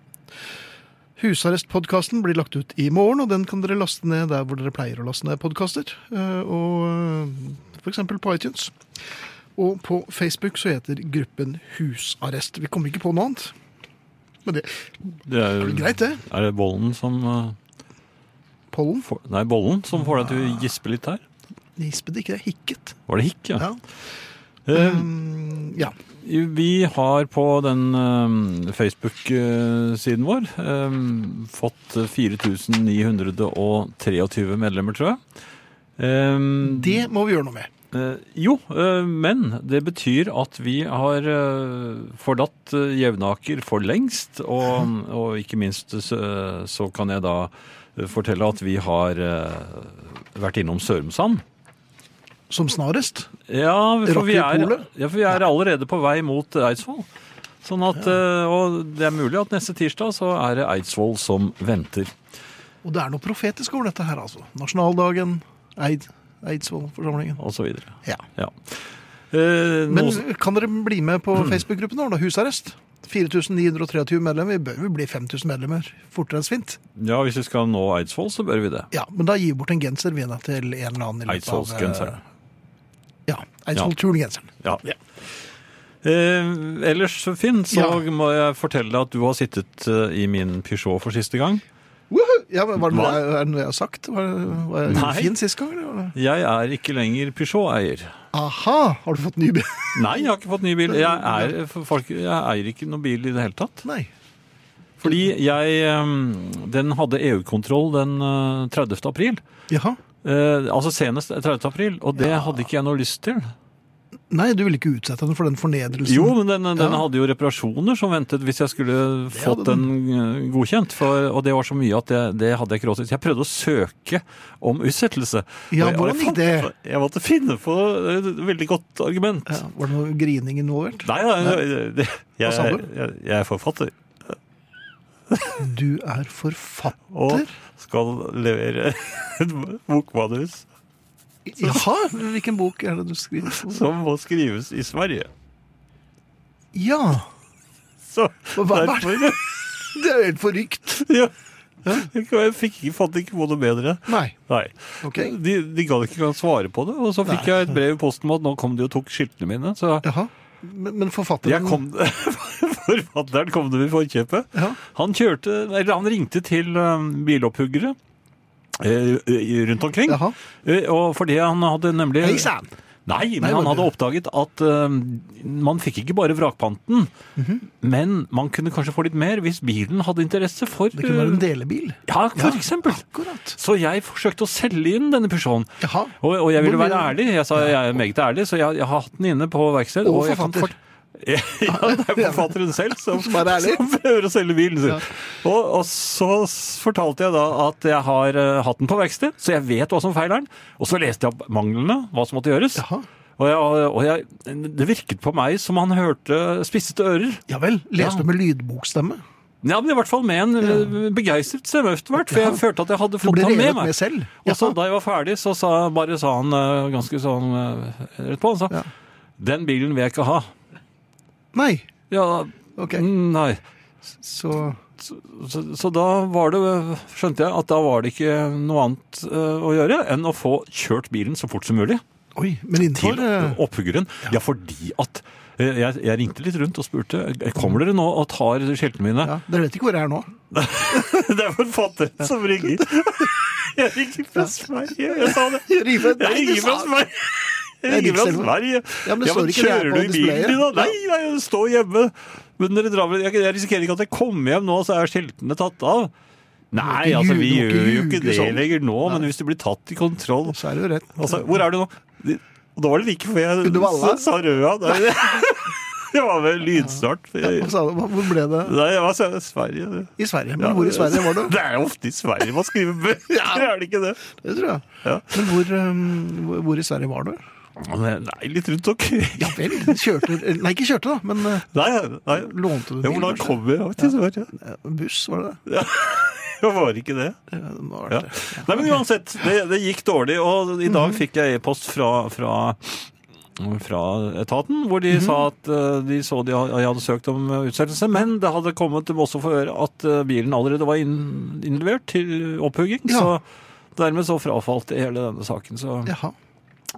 Husarrestpodkasten blir lagt ut i morgen, og den kan dere laste ned der hvor dere pleier å laste ned eh, podkaster. Og f.eks. eh, på iTunes. Og på Facebook så heter gruppen Husarrest. Vi kommer ikke på noe annet. Men det Det er, er vel jo- greit, det. er det bollen som eh, Pollen. får, Nei, bollen som får deg til å gispe litt her? Gispet ikke, det er hikket. Var det hikk, ja? Ja. Eh, Um, ja. Vi har på den eh, Facebook-siden vår eh, fått 4923 medlemmer, tror jeg. Eh, Det må vi gjøre noe med. eh, jo, eh, men det betyr at vi har eh, forlatt eh, Jevnaker for lengst. Og, og ikke minst eh, så kan jeg da eh, fortelle at vi har eh, vært innom Sørumsand. Som snarest. Ja, for vi, er, Rockepolet? ja, for vi er allerede på vei mot Eidsvoll. Sånn at, eh, Og det er mulig at neste tirsdag så er det Eidsvoll som venter. Og det er noe profetisk over dette her, altså. Nasjonaldagen, Eid, Eidsvollforsamlingen. Og så videre. Ja. Ja. Eh, Men nå- kan dere bli med på Facebook-gruppen vår, da? Husarrest. 4923 medlemmer. Vi bør vel bli 5000 medlemmer fortere enn svint. ja, hvis vi skal nå Eidsvoll, så bør vi det. Ja, men da gir vi bort en genser vi da til en eller annen. i løpet av, eh, Eidsvollsgenseren. Ja. Eidsvoll-turngenseren. Ja. Eh, ellers, Finn, så Ja. må jeg fortelle deg at du har sittet eh, i min Peugeot for siste gang. Woohoo! Ja, men var det, Hva? er det noe jeg har sagt? Var, det- var jeg Nei. fin sist gang? Eller? var det- Jeg er ikke lenger Peugeot-eier. Aha! Har du fått ny bil? Nei, jeg har ikke fått ny bil. Jeg, er, for folk, jeg eier ikke noen bil i det hele tatt. Nei. Fordi jeg ehm, Den hadde EU-kontroll den eh, 30. april. Jaha. Eh, altså senest 30. april, og det hadde ikke jeg noe lyst til. Nei, du ville ikke utsette henne for den fornedrelsen. Jo, men den, den Ja. hadde jo reparasjoner som ventet hvis jeg skulle fått hadde den eh, godkjent. For, og det var så mye at det, det hadde jeg ikke råd til. Så Jeg prøvde å søke om utsettelse. Ja, Og jeg- og jeg hvordan gikk fant- det? Jeg måtte finne på et veldig godt argument. ja, var det noe grining involvert? Nei, nei, det- jeg, sa du? jeg, jeg er forfatter Du er forfatter? og skal levere et bokmanus. Jaha! Hvilken bok er det du skriver? som må skrives i Sverige. Ja! Så hva- hva- derfor Det er jo helt forrykt. ja, Jeg fikk ikke, fant ikke på noe bedre. Nei. Nei. Ok. De, de gadd ikke engang svare på det. Og så fikk Nei. jeg et brev i posten om at nå kom de og tok skiltene mine. Så Jaha. Men, men forfatteren jeg kom, forfatteren kom dem i forkjøpet. Ja. Han kjørte, eller han ringte til um, bilopphuggere eh, eh, rundt omkring. Jaha. Eh, Og fordi han hadde nemlig Hei sann! Nei, men Nei, han hva- hadde oppdaget at eh, man fikk ikke bare vrakpanten, Mhm. men man kunne kanskje få litt mer hvis bilen hadde interesse for Det kunne være en eh, delebil. Ja, for eksempel. Akkurat. Så jeg forsøkte å selge inn denne Peugeoten. Jaha. Og, og jeg ville Hvor mye- være ærlig. Jeg sa jeg er meget ærlig, så jeg, jeg har hatt den inne på verksted. Og jeg kan forfatter. fort- ja, det er forfatteren selv som, Som er ærlig. som prøver å selge bilen sin. Og, og så s- fortalte jeg da at jeg har eh, hatt den på verksted, så jeg vet hva som feiler den. Og så leste jeg opp manglene, hva som måtte gjøres. Jaha. Og, jeg, og jeg, det virket på meg som han hørte spissete ører. Ja vel. Leste Ja. du med lydbokstemme? Ja, men i hvert fall med en eh, begeistret stemme etter hvert, for jeg følte at jeg hadde fått ble han med revet meg. med selv? Og så Jaha. da jeg var ferdig, så sa, bare sa han eh, ganske sånn eh, rett på, han sa, Ja. den bilen vil jeg ikke ha. Nei. Ja, Ok. mm, nei. Så Så, så da var det, eh, skjønte jeg at da var det ikke noe annet eh, å gjøre enn å få kjørt bilen så fort som mulig Oi. Men til innenfor eh, opphuggeren. Ja, fordi at eh, jeg, jeg ringte litt rundt og spurte, kommer dere nå og tar skjeltene mine? ja, Dere vet ikke hvor jeg er nå? Det er forfatteren som ringer. Jeg ringer fra Sverige. Jeg sa det. Jeg ringer fra- Jeg ringer fra Nei, Sverige. Jeg ringer fra Rikselva. Sverige. Ja, men det står ikke det her kjører på du i bilen displayet? din, da? Nei, nei, jeg står hjemme. Men dere drar vel Jeg jeg risikerer ikke at jeg kommer hjem nå, så er skiltene tatt av. Nei, ikke altså, vi ljuge, du må gjør jo ikke ikke det sånn. lenger nå, men hvis du blir tatt i kontroll Så er det jo rett. Altså, hvor er du nå? Og da var det like før jeg Skulle du valle? sa- sa røda. Nei, Det var vel lydstart. Hva sa du? Hva- Hvor ble det? Nei, jeg var i Sverige. I Sverige. Ja, Men hvor i Sverige var du? Det er jo ofte i Sverige man skriver bøker, er det ikke det? Det tror jeg. Ja. Men hvor, um, hvor- hvor i Sverige var du? Nei, litt rundt omkring. Ja vel. Kjørte Nei, ikke kjørte, da, men eh, Nei, nei. lånte du Ja, bil? hvordan kanskje? kommer jeg til Sverige? Eh, Buss, var det det? Jeg var ikke det. Ja, det må ha Ja. vært det. Nei, men uansett, det, det gikk dårlig, og i Mhm. dag fikk jeg e-post fra, fra fra etaten, hvor Mhm. de sa at eh, de så de, jeg hadde søkt om eh, utsettelse, men det hadde kommet dem også for øre at eh, bilen allerede var inn, innlevert til opphugging, Ja. så dermed så frafalt hele denne saken. Så Jaha.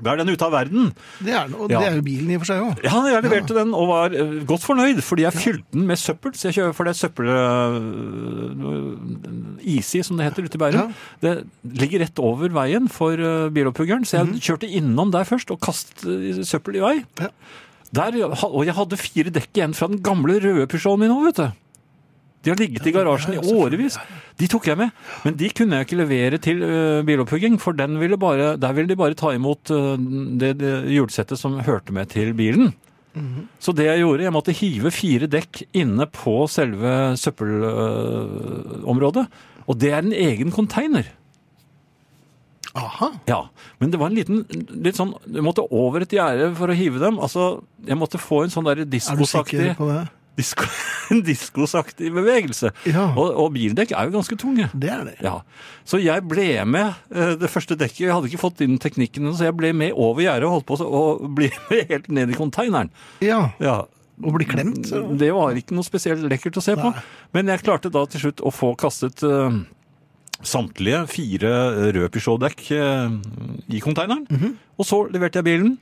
da er den ute av verden. Det er, den, og Ja. det er jo bilen i og for seg òg. Ja, jeg leverte den og var eh, godt fornøyd, fordi jeg fylte den med søppel. Så jeg kjører for det søppel... eh, Easy, som det heter ute i Bærum. Det ligger rett over veien for eh, bilopphuggeren, så jeg kjørte innom der først og kastet eh, søppel i vei. Ja. Der, ha- og jeg hadde fire dekk igjen fra den gamle røde Peugeoten min òg, vet du. De har ligget i garasjen i årevis. De tok jeg med. Men de kunne jeg ikke levere til uh, bilopphugging, for den ville bare, der ville de bare ta imot ø, det, det hjulsettet som hørte med til bilen. Mhm. Så det jeg gjorde, jeg måtte hive fire dekk inne på selve søppelområdet. Og det er en egen container. Aha. Ja, men det var en liten litt sånn, Du måtte over et gjerde for å hive dem. Altså, Jeg måtte få en sånn der Er du sikker diskosaktig på det? disko, En diskosaktig bevegelse. Ja. Og, og bildekk er jo ganske tunge. Det er det. Ja, Så jeg ble med eh, det første dekket. Jeg hadde ikke fått inn teknikken, så jeg ble med over gjerdet og holdt på å bli med helt ned i konteineren. Ja. Ja, Å bli klemt. så- Mm, det var ikke noe spesielt lekkert å se på. Men jeg klarte da til slutt å få kastet eh, samtlige fire røde Peugeot-dekk eh, i konteineren. Mhm. Og så leverte jeg bilen.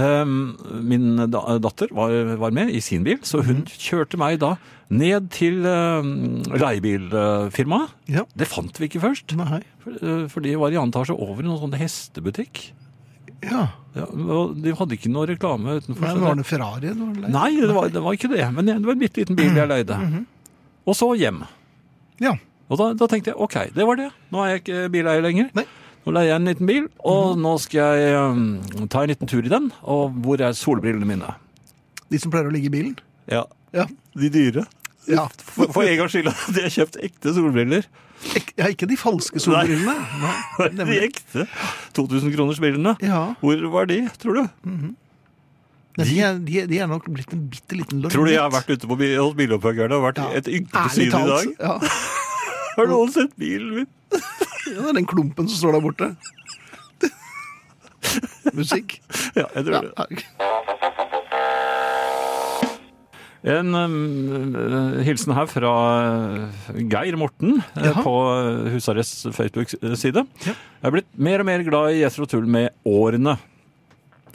Ehm, min da datter var, var med i sin bil, så hun Mhm. kjørte meg da ned til uh, leiebilfirmaet. Ja. Det fant vi ikke først, Nei. for, eh, for de var i annen etasje over i noen sånn hestebutikk. Ja. Ja, og de hadde ikke noe reklame utenfor. Nei, så men det- var det Ferrari? Det var det- Nei, det var, det var ikke det. Men det var en bitte liten bil jeg leide. Og så hjem. Ja. Og da, da tenkte jeg OK, det var det. Nå er jeg ikke bileier lenger. Nei. Nå leier jeg en liten bil, og nå skal jeg um, ta en liten tur i den. Og hvor er solbrillene mine? De som pleier å ligge i bilen? Ja, Ja. De dyre. ja. For, for en gangs skyld hadde jeg kjøpt ekte solbriller. Ik ja ikke de falske solbrillene. Nei, De nemlig. ekte 2000-kronersbrillene. Ja. Mm, Hvor var de, tror du? De, er- de, er- de er nok blitt en bitte liten løgn. Tror du jeg har vært ute på bi- hos bilopphuggerne og vært et ynkelig syn i dag? Ja. Har Mm. noen sett bilen min? ja, det er den klumpen som står der borte. Musikk. Ja, jeg tror Ja. det. En eh, hilsen her fra eh, Geir Morten eh, Jaha. på eh, Husarrests Facebook-side. Jeg er blitt mer og mer glad i Jethro Tull med årene.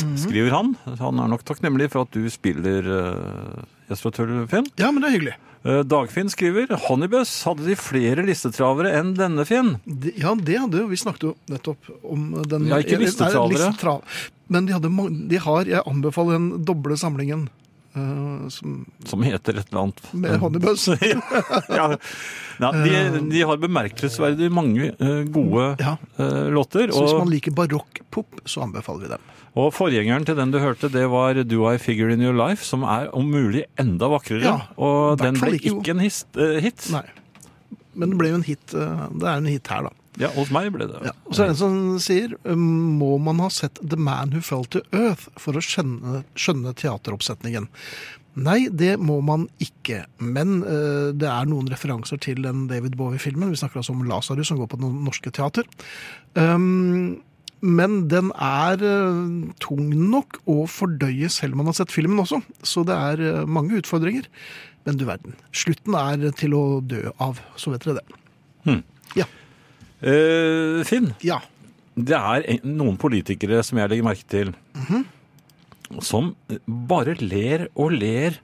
Mhm. skriver han. Han er nok takknemlig for at du spiller eh, Jesper Tull, Finn. Ja, men det er hyggelig. Eh, Dagfinn skriver Honeybus hadde de flere listetravere enn denne, Finn. De, ja, det hadde jo Vi snakket jo nettopp om den Ja, ikke eller- listetravere. nei, listetrav- Men de, hadde, mang- de har Jeg anbefaler den doble samlingen eh, som, Som heter et eller annet. med Honeybuzz. ja. Ja, de, de har bemerkelsesverdig mange eh, gode Eh. Ja. eh, låter. Så hvis man liker barokkpop, så anbefaler vi dem. Og forgjengeren til den du hørte, det var Do I Figure In Your Life, som er om mulig enda vakrere. Ja, og hvert den fall ble like god. ikke en his- eh, hit. Nei. Men det ble jo en hit. eh, Det er en hit her, da. Ja, hos meg ble det. Ja. Og så er det en som sier eh, Må man ha sett The Man Who Fell to Earth for å skjønne, skjønne teateroppsetningen? Nei, det må man ikke. Men eh, det er noen referanser til den David Bowie-filmen. Vi snakker altså om Lasarus, som går på Det Norske Teater. Um, men den er eh, tung nok å fordøye selv om man har sett filmen også. Så det er eh, mange utfordringer. Men du verden. Slutten er til å dø av, så vet dere det. Eh, Finn, Ja. det er en, noen politikere som jeg legger merke til, som bare ler og ler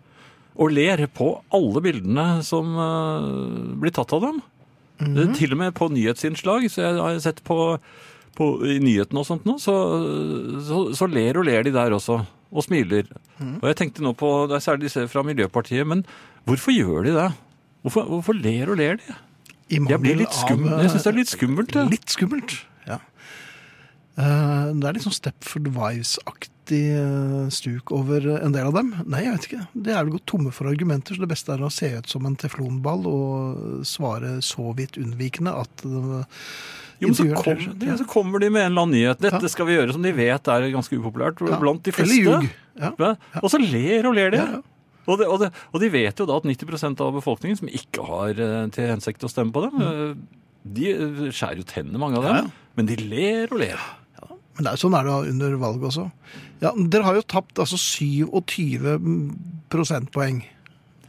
og ler på alle bildene som eh, blir tatt av dem. Mhm. Eh, Til og med på nyhetsinnslag, så jeg har sett på, på i nyhetene og sånt nå, så, så, så ler og ler de der også, og smiler. Mhm. Og jeg tenkte nå på, det er særlig disse fra Miljøpartiet, men hvorfor gjør de det? Hvorfor, hvorfor ler og ler de? I Jeg blir mangel litt skummel. av, eh, Jeg synes det er litt skummelt. det. Litt skummelt, ja. Eh, det er litt sånn Stepford Wives-aktig eh, stuk over eh, en del av dem. Nei, jeg vet ikke. Det er vel gått tomme for argumenter, så det beste er å se ut som en teflonball og svare så vidt unnvikende at eh, Jo, men så, intervjueren kom, tror- ja, så kommer de med en eller annen nyhet. Dette Ja. skal vi gjøre som de vet er ganske upopulært Ja. blant de Eller fleste. ljug. Ja. Ja, Og så ler og ler de. Ja, ja. Og, det, og, det, og de vet jo da at 90 av befolkningen som ikke har eh, til hensikt å stemme på dem, eh, de eh, skjærer jo tennene, mange av dem. Mm. Ja, ja. Men de ler og ler. Men det er jo sånn er det under valget også. Ja, dere har jo tapt altså 27 mm, prosentpoeng.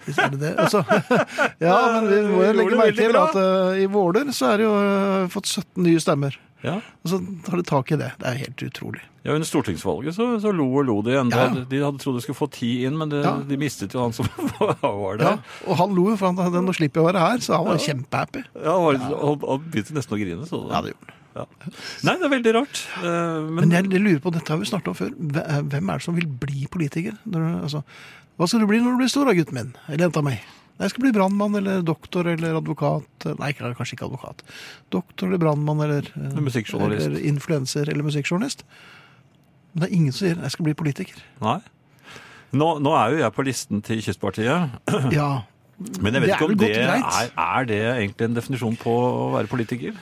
Hvis er det det? Altså, ja, men vi må jo Gjorde legge det merke veldig til bra. at eh, i Våler så er det jo eh, fått 17 nye stemmer. Ja. Og så tar de tak i det. Det er helt utrolig. Ja, Under stortingsvalget så, så lo og lo de enda. Ja, ja. De hadde trodd de skulle få ti inn, men det, Ja. de mistet jo han som Ja, var der. og han lo jo, for han, nå slipper jeg å være her, så han var kjempehappy. Ja, og, og, og begynte nesten å grine. Så, Ja, det gjorde han. Ja. Nei, det er veldig rart. eh, Men, Men jeg, jeg lurer på, dette har vi snakket om før, Hve- eh, hvem er det som vil bli politiker? Når, du- altså, hva skal du bli når du blir stor, da, gutten min? Eller jenta mi? Nei, Jeg skal bli brannmann eller doktor eller advokat. Nei, ikke- kanskje ikke advokat. Doktor eller brannmann eller eh, Musikkjournalist. Eller influenser eller musikkjournalist. Men det er ingen som sier 'jeg skal bli politiker'. Nei. Nå, nå er jo jeg på listen til Kystpartiet, Ja, men Det jeg vet er ikke om vel det godt er, greit. er det egentlig en definisjon på å være politiker.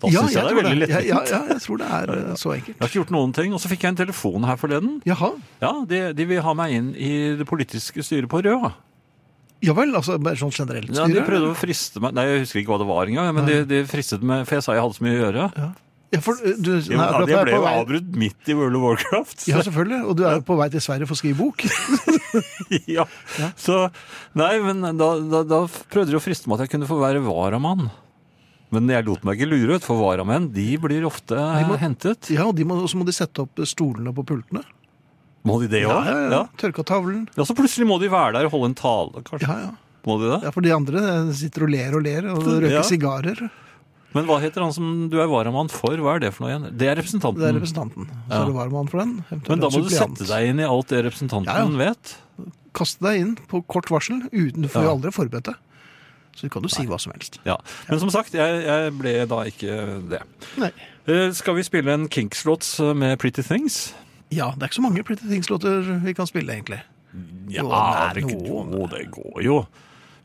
Da ja, syns jeg, det er tror veldig lettvint. Ja, ja, ja, jeg tror det er eh, så Jeg enkelt. har ikke gjort noen ting. Og så fikk jeg en telefon her forleden. Jaha. Ja, de, de vil ha meg inn i det politiske styret på Rød. Ja vel, altså bare sånn generelt Ja, styre? de prøvde å friste meg Nei, jeg husker ikke hva det var engang, men de, de fristet meg, for jeg sa jeg hadde så mye å gjøre. Ja, for, eh, du, Jo, nei, men akkurat jeg er ble på jo vei- avbrutt midt i World of Warcraft. Ja, selvfølgelig. Og du er jo på vei til Sverige for å skrive bok. ja. Så, nei, men da, da, da prøvde de å friste meg at jeg kunne få være varamann. Men jeg lot meg ikke lure ut, for varamenn de blir ofte må- hentet. Ja, og de må- og så må de sette opp stolene på pultene. Må de det òg? ja, ja. Tørke av tavlen. Ja, så plutselig må de være der og holde en tale, kanskje. Ja, ja. Må de det? ja, for de andre eh, sitter og ler og ler og Ja. røyker sigarer. Men hva heter han som du er varamann for? Hva er det for noe igjen? Det er representanten. Det er representanten. Så Mm. Ja. er det varmann for den. eventuelt Men da må en du suppleant. sette deg inn i alt det representanten Ja, ja. vet. Kaste deg inn på kort varsel. Uten, du får Ja. jo aldri forberedt deg. Så kan du si hva som helst. Ja. Men som sagt, jeg, jeg ble da ikke det. Nei. Eh, Skal vi spille en Kinks-låt med Pretty Things? Ja, det er ikke så mange Pretty Things-låter vi kan spille, egentlig. Ja, Jo, nei, det, nå- jo, det går jo.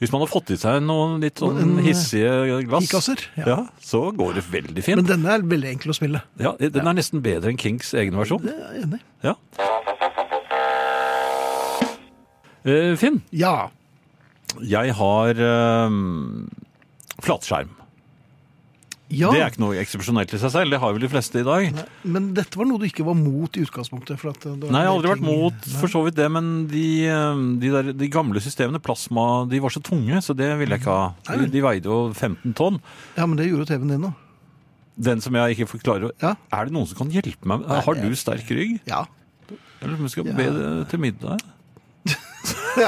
Hvis man har fått i seg noen litt sånn En, eh, hissige glass, kikasser, ja. ja. så går det veldig Men fint. denne er veldig enkel å spille. Ja, den er nesten bedre enn Kings egen versjon. Det er jeg enig. i. Ja. Eh, Finn, Ja. jeg har eh, flatskjerm. ja. Det er ikke noe eksepsjonelt i seg selv, det har vel de fleste i dag. Nei, Men dette var noe du ikke var mot i utgangspunktet? For at eh, det var jeg en del har aldri vært ting- mot Nei. for så vidt det, men de, eh, de, der, de gamle systemene, plasma, de var så tunge, så det ville jeg ikke ha. De, de veide jo 15 tonn. Ja, men det gjorde jo TV-en din nå. Den som jeg ikke forklarer Ja. Er det noen som kan hjelpe meg? med- Har du sterk rygg? Ja. Eller om vi skal be det til middag?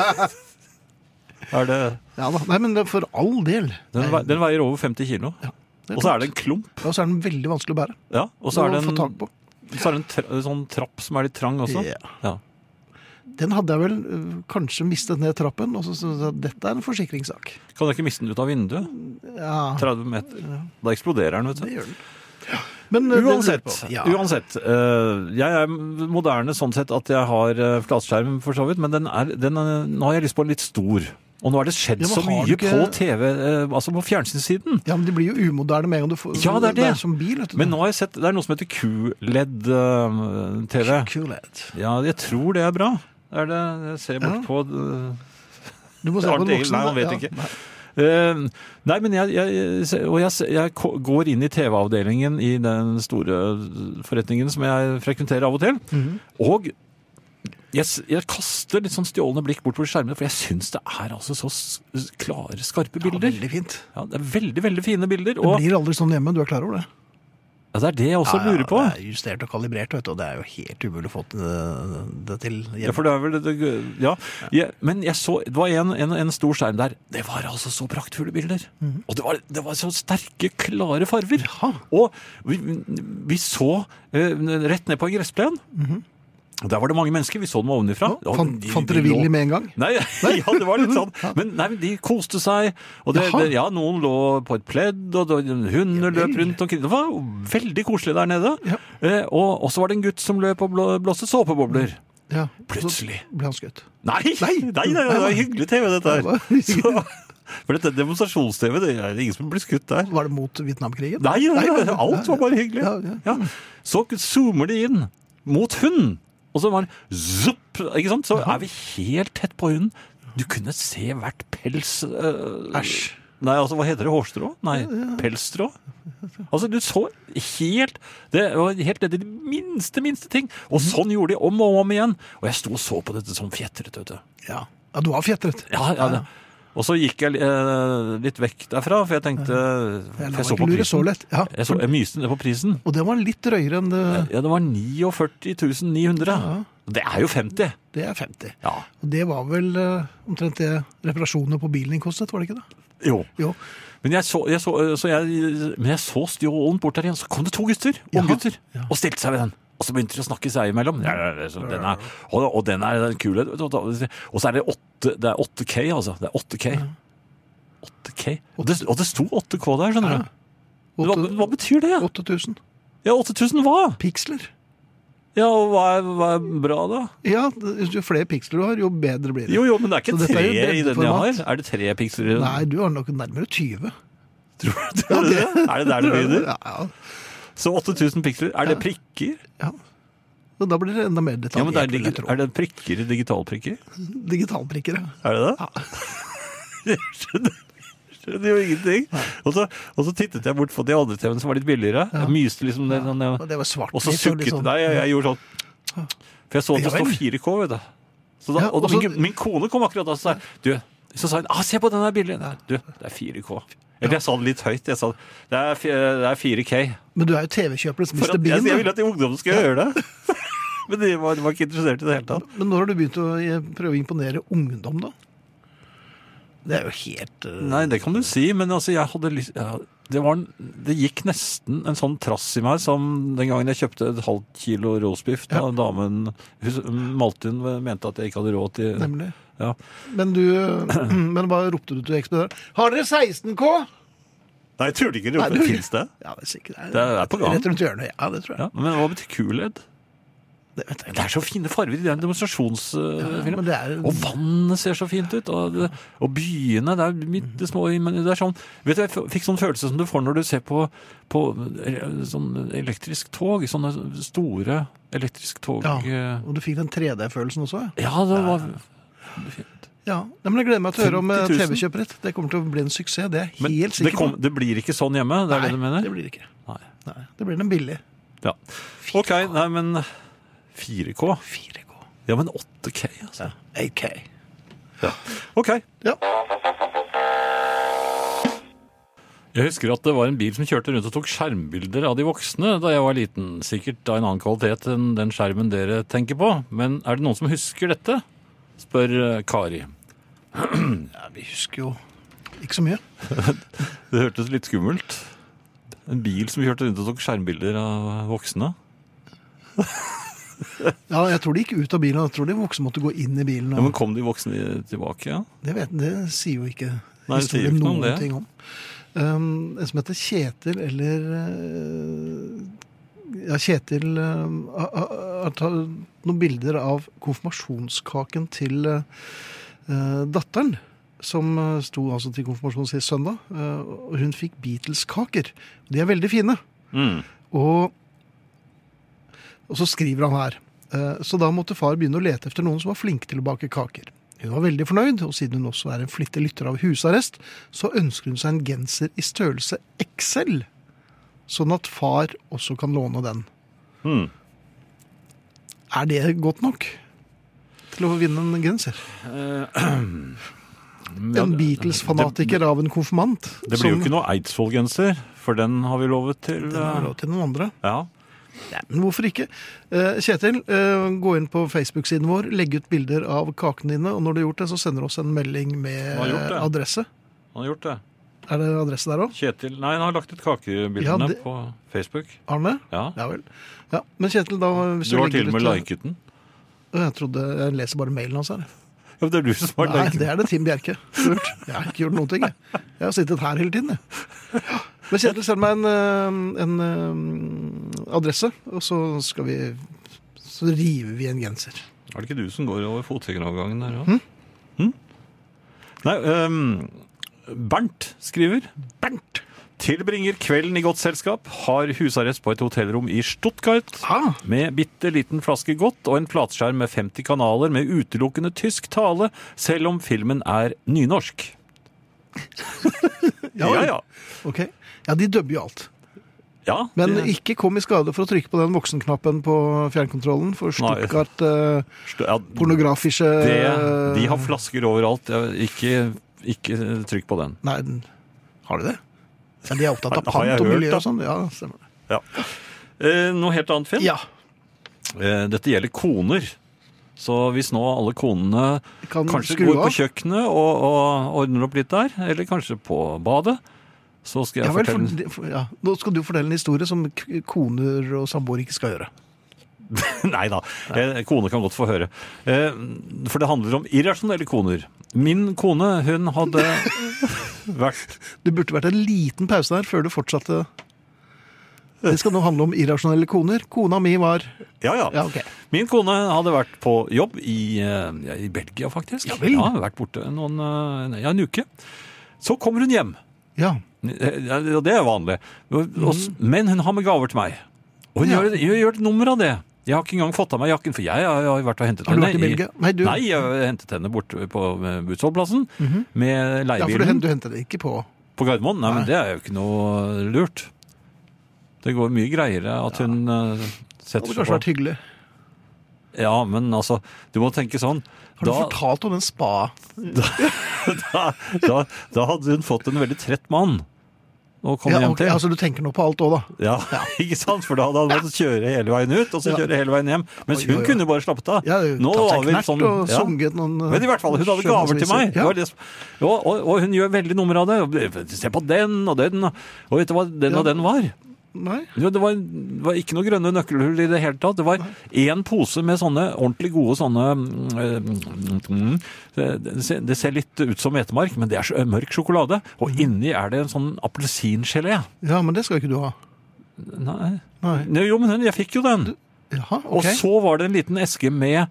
er det ja da. Nei, men det er for all del. den, vei, den veier over 50 kilo. Det Og så er klart. det en klump. Ja, Og så er den veldig vanskelig å bære. Ja, og så er å det en, få tak på. så er det en tra sånn trapp som er litt trang også. Ja. Ja. Den hadde jeg vel øh, kanskje mistet ned trappen, og så syntes jeg at dette er en forsikringssak. Kan du ikke miste den ut av vinduet? Ja, 30 meter. Da eksploderer den, vet det du. gjør den. Men, øh, den Uansett, lurer jeg på. ja. uansett eh, jeg er moderne sånn sett at jeg har eh, flatskjerm for så vidt, men den er, den er, nå har jeg lyst på en litt stor. Og nå er det skjedd Ja, men så har mye du ikke- på TV, eh, altså på fjernsynssiden. ja, men de blir jo umoderne med en gang du får Ja, det er det. som bil. Vet du. Men nå har jeg sett, det er noe som heter Q-LED-TV. Kulhet. Ja, jeg tror det er bra. Er det, jeg ser bort Ja. på eh, Du må se på Arnt den Egil, voksne. nei, han vet ja. ikke. Eh, nei, men jeg, jeg, og jeg, jeg ko- går inn i TV-avdelingen i den store forretningen som jeg frekventerer av og til, Mhm. og jeg, s- jeg kaster litt sånn stjålne blikk bort på skjermene, for jeg syns det er altså så s- klare, skarpe Ja, bilder. veldig fint. Ja, det er veldig, veldig fine bilder, Det og blir aldri sånn hjemme, du er klar over det? ja, det er det jeg også Ja, ja, lurer på. Det er justert og kalibrert, vet du, og det er jo helt umulig å få til det, det til hjemme. Ja, for det er vel det, ja. Jeg, men jeg så, det var en, en, en stor skjerm der. Det var altså så praktfulle bilder. Mhm. Og det var, det var så sterke, klare farger. Og vi, vi så eh, rett ned på en gressplen. Og Der var det mange mennesker. Vi så dem ovenifra. Mhm. Ja, Ja, fant- de- fant de dere lå- Willy med en gang? Nei, ja, det var litt sånn. Men nei, men de koste seg. Og det, Jaha. det, ja, noen lå på et pledd, og det- hunder løp rundt omkring. Det var veldig koselig der nede. Eh, og og så var det en gutt som løp og blå- blåste Mm. såpebobler. Ja. Plutselig. Så ble han skutt. Nei! Nei, nei, nei, det var hyggelig TV, dette Det var her. Så, for dette er demonstrasjons-TV, det er ingen som blir skutt der. Var det mot Vietnamkrigen? Nei, nei, nei, alt var bare hyggelig. Ja, ja. Ja. Så zoomer de inn mot hunden, og så var det zupp, ikke sant? Så er vi helt tett på hunden. Du kunne se hvert pels eh, Æsj. Nei, altså, hva heter det? Hårstrå? Nei, pelsstrå? Altså, du så helt Det var helt ned i de minste, minste ting. Og Mhm. sånn gjorde de om og om igjen. Og jeg sto og så på dette som fjetret, vet du. Ja. ja, du var fjetret. Ja, ja, det. Og så gikk jeg eh, litt vekk derfra, for jeg tenkte Jeg for lar Jeg så meg på ikke lure så prisen. lett. Ja. Jeg, så, jeg myste ned på prisen. Og det var litt drøyere enn det, Ja, det var 49 900. Det er jo 50. det er 50. Ja. Og det var vel eh, omtrent det reparasjonene på bilen din kostet, var det ikke det? Jo. Jo. Men jeg så, jeg så, så jeg, men jeg så stjålen bort der igjen. Så kom det to gutter, unggutter, og stilte seg ved den. Og så begynte de å snakke seg imellom. Ja, ja, ja, så den er, og, og den er den kule. vet du, Og da- og så er det 8, det er 8K, altså. Det er 8K. 8K. Og det, og det sto 8K der, skjønner du. Hva, Åtte- hva betyr det? 8000 Ja, 8000 hva? piksler. Ja, og hva er, hva er bra da? Ja, det- jo flere piksler du har, jo bedre blir det. Jo, jo, men det er Så ikke dette er tre jo i den jeg breddeformat. har. Er det tre piksler i den? Nei, du har nok nærmere 20. Tror du det? Er det, det? er det der det begynner? Ja, ja. Så 8000 piksler, er det prikker? ja. Og da blir det enda mer detaljert. Ja, men det er, vil jeg digi- tro. er det prikker, digitalprikker? Digitalprikker, ja. Er det det? Jeg skjønner, skjønner jo ingenting. Og så, og så tittet jeg bort på de andre TV-ene som var litt billigere. Jeg myste liksom ned. sånn, Og det var svart. Og så sukket liksom. Nei, jeg, jeg gjorde sånn. For jeg så at det Ja vel. står 4K, vet du. Så da, Ja, og da, og så- min, min kone kom akkurat da og sa du, så sa hun ah, se på den der bildet. Nei, du, det er 4K. Eller jeg sa det litt høyt. Jeg sa det er, fi- det er 4K. Men du er jo TV-kjøperens For Mr. at, jeg, Bean. jeg da. ville at de ungdommene skulle høre det. Men de var, de var ikke interessert i det hele tatt. Men når har du begynt å eh, prøve å imponere ungdom, da? Det er jo helt eh, Nei, det kan du si, men altså, jeg hadde lyst ja, det, var, en- det gikk nesten en sånn trass i meg som den gangen jeg kjøpte et halvt kilo roastbiff. Da damen hun- Maltun mente at jeg ikke hadde råd til Nemlig. Ja. Men du eh, Men hva ropte du til ekspeditøren? Har dere 16K? Nei, jeg tror det ikke. Nei, Det du- finnes det. Ja, det er sikkert. Det er på gang. Rett rundt hjørnet. Ja, det tror jeg. Ja, men hva betyr kuledd? Det vet jeg Det ikke. er så fine farger i den Ja, men demonstrasjonsfilmen. det er, og vannet ser så fint ut, og, det- og byene det er, midt, det små, men det er sånn Vet du, Jeg f- fikk sånn følelse som du får når du ser på, på eh, sånn elektrisk tog. Sånne store elektrisk tog Ja. eh, og du fikk den 3D-følelsen også? ja. ja det var Ja. Nei, men Jeg gleder meg til å høre om 50 000. TV-kjøpet ditt. Det kommer til å bli en suksess. Det er jeg Men helt det, sikker kom, på. det blir ikke sånn hjemme? Det er det du mener? det blir det ikke. Nei. Nei, Det blir den billig. Ja. OK, nei, men 4K? 4K. Ja, men 8K, altså. 8K. OK. Ja. Jeg husker at det var en bil som kjørte rundt og tok skjermbilder av de voksne da jeg var liten. Sikkert av en annen kvalitet enn den skjermen dere tenker på. Men er det noen som husker dette? spør eh, Kari. Ja, vi husker jo ikke så mye. Det hørtes litt skummelt. En bil som kjørte rundt og tok skjermbilder av voksne. Ja, Jeg tror de gikk ut av bilen. og Jeg tror de voksne måtte gå inn i bilen. Ja, Og men kom de voksne tilbake? Ja? det, vet, det sier jo ikke Nei, det sier historien ikke noe om noen det. ting om. Um, en som heter Kjetil eller eh, Ja, Kjetil um, har, har- har tatt noen bilder av konfirmasjonskaken til eh, eh, datteren. Som eh, sto altså til konfirmasjon sist søndag. eh, og hun fikk Beatles-kaker. De er veldig fine. Mm. Og, og så skriver han her. eh, Så da måtte far begynne å lete etter noen som var flinke til å bake kaker. Hun var veldig fornøyd, og siden hun også er en flittig lytter av husarrest, så ønsker hun seg en genser i størrelse XL, sånn at far også kan låne den. Hmm. Er det godt nok til å vinne en genser? Ja, en det- Beatles-fanatiker av en konfirmant? Det blir jo ikke noe Eidsvoll-genser, for den har vi lovet til. eh, til noen andre. Ja. Men hvorfor ikke? Eh, Kjetil, eh, gå inn på Facebook-siden vår, legg ut bilder av kakene dine, og når du har gjort det, så sender du oss en melding med Har gjort det. eh, adresse. Han har gjort det. Er det adresse der òg? Kjetil Nei, han har lagt ut kakebildene Ja, det- på Facebook. Arne? Ja. Ja vel. Ja, men Kjetil, da hvis Du har legger til og med ut- eh, liket den. Å, Jeg trodde jeg leser bare mailen hans her. Ja, men det er du som har Nei, liket det den. er det Tim Bjerke. Lurt. Jeg har ikke gjort noen ting, jeg. Jeg har sittet her hele tiden, jeg. Men Kjetil, send meg en, eh, en eh, adresse, og så skal vi Så river vi en genser. Er det ikke du som går over fotgjengerovergangen der Hm? òg? Nei, ehm, Bernt skriver. Bernt! Tilbringer kvelden i godt selskap, har husarrest på et hotellrom i Stuttgart. Ah, Med bitte liten flaske godt og en platskjerm med 50 kanaler med utelukkende tysk tale, selv om filmen er nynorsk. Ja vel. ja. ok. Ja, de dubber jo alt. ja Men det- ikke kom i skade for å trykke på den voksenknappen på fjernkontrollen, for Nei. Stuttgart eh, ja, pornografische det, Eh, De har flasker overalt. Ja, Ikke, ikke trykk på den. Nei, den- har de det? Ja, de er opptatt av Har- har jeg pant og hørt, miljø da? og sånn. Ja, stemmer det. Eh, noe helt annet, Finn. Ja, Eh, dette gjelder koner. Så hvis nå alle konene kan kanskje skru går på av. kjøkkenet og, og ordner opp litt der, eller kanskje på badet, så skal jeg Ja, vel, for, fortelle for, ja. Nå skal du fortelle en historie som k- koner og samboere ikke skal gjøre. Nei da. Eh, Kone kan godt få høre. Eh, For det handler om irrasjonelle koner. Min kone, hun hadde vært Det burde vært en liten pause der før du fortsatte. Det skal nå handle om irrasjonelle koner. Kona mi var Ja, ja. Ja, ok. Min kone hadde vært på jobb i, eh, ja, i Belgia, faktisk. Ja vel. vært borte noen, eh, ja, en uke. Så kommer hun hjem. Ja. Eh, ja, Og det er vanlig. Og- og s- Men hun har med gaver til meg. Og hun Mm. Ja. gjør, et- gjør et nummer av det. Jeg har ikke engang fått av meg jakken, for jeg har jeg har vært og hentet Har du vært henne. i Belgia? Nei, du- Mhm. Nei, jeg har hentet henne borte på eh, Budsvollplassen med ja, for du, hen- leiebilen du hentet det ikke på på Gardermoen. Nei, men Nei. det er jo ikke noe lurt. Det går mye greiere at hun eh, Det setter hadde seg kanskje vært på. hyggelig. Ja, men altså, du må tenke sånn. Har du Da- fortalt om den spa? da, da, da hadde hun fått en veldig trett mann å komme Ja, hjem ok, til. altså, du tenker nå på alt òg, da? ja, ikke sant? For da hadde han måttet kjøre hele veien ut, og så Ja. kjøre hele veien hjem. Mens Oi, hun oi, oi. kunne bare slappet av. Ja, tatt Nå seg var vi knert sånn- og ja. sunget noen eh, Men i hvert fall, hun hadde gaver til meg. Det Ja. var liksom, og, og, og hun gjør veldig nummer av det. Og, Se på den og den, og vet du hva den og Ja. den var? Nei. Jo, det var, det var ikke noe grønne nøkkelhull i det hele tatt. Det var én pose med sånne ordentlig gode sånne mm, mm, det, ser- det ser litt ut som hvetemark, men det er så- eh, mørk sjokolade. Mm. Og inni er det en sånn appelsingelé. Ja, men det skal ikke du ha. Nei. Nei. Nei, Jo, men hun- jeg fikk jo den. Jaha, Og ok. så var det en liten eske med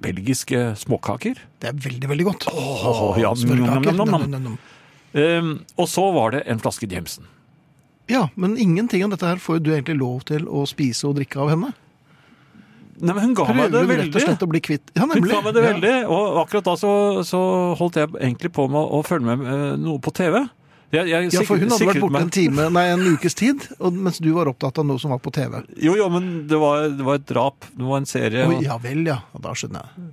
belgiske småkaker. Det er veldig, veldig godt. Åh, ja, Smørkaker. nom, nom, nom, Nom, nom, nom. Um, og så var det en flaske Jameson. Ja, men ingenting av dette her får jo du egentlig lov til å spise og drikke av henne. Nei, men hun ga meg Prøver det hun rett og veldig. slett å bli kvitt Ja, Hun nemlig. ga meg det Ja. veldig, og akkurat da så, så holdt jeg egentlig på med å følge med eh, noe på TV. Jeg, jeg Ja, for sikret- hun hadde vært sikret borte meg- en time, nei, en ukes tid, og, mens du var opptatt av noe som var på TV. Jo, jo, men det var, det var et drap. Det var en serie. Oi, og- ja vel, ja. Ja, Da skjønner jeg.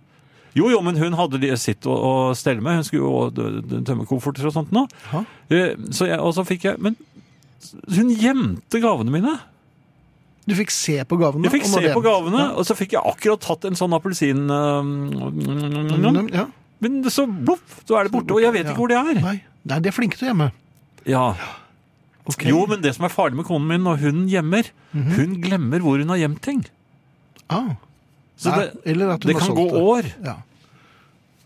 Jo, jo, men hun hadde de- sitt å, å stelle med. Hun skulle jo dø- dø- tømme kofferter og sånt nå. Jaha. Eh, Så jeg, og så fikk jeg Men hun gjemte gavene mine! Du fikk se på gavene? Jeg fikk og når se det- på gavene, og så fikk jeg akkurat tatt en sånn appelsin... Mm, eh, Ja. Men så bloff, så er det borte, og jeg vet Ja. ikke hvor det er. Nei. Nei, de er flinke til å gjemme. Ja. Ok. Mhm. Jo, men det som er farlig med konen min når hun gjemmer, hun glemmer hvor hun har gjemt ting. Ah. Så Nei, det, eller at hun det har kan solgt gå det. år. Ja.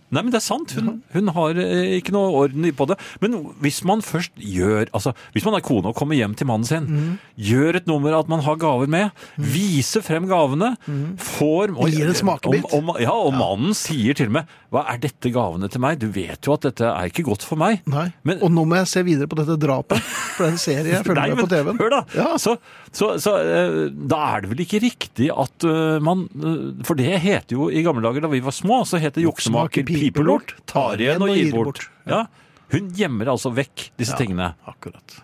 Nei, men det er sant. Hun, hun har eh, ikke noe orden i- på det. Men hvis man først gjør Altså, hvis man er kone og kommer hjem til mannen sin, Mhm. gjør et nummer av at man har gaver med, viser frem gavene, får og, Mhm. Gir en smakebit. Om, om, ja, og mannen sier til og med 'Hva er dette gavene til meg?' Du vet jo at dette er ikke godt for meg. Nei. Men- og nå må jeg se videre på dette drapet, for den serien jeg følger Nei, med på men TV-en. Hør, da! Ja. Så, så, så eh, da er det vel ikke riktig at eh, man eh, For det het jo i gamle dager da vi var små, så het det Juksemaker, juksemaker, pipelort, tar igjen og gir bort. Ja. Ja. Hun gjemmer altså vekk disse tingene. Akkurat.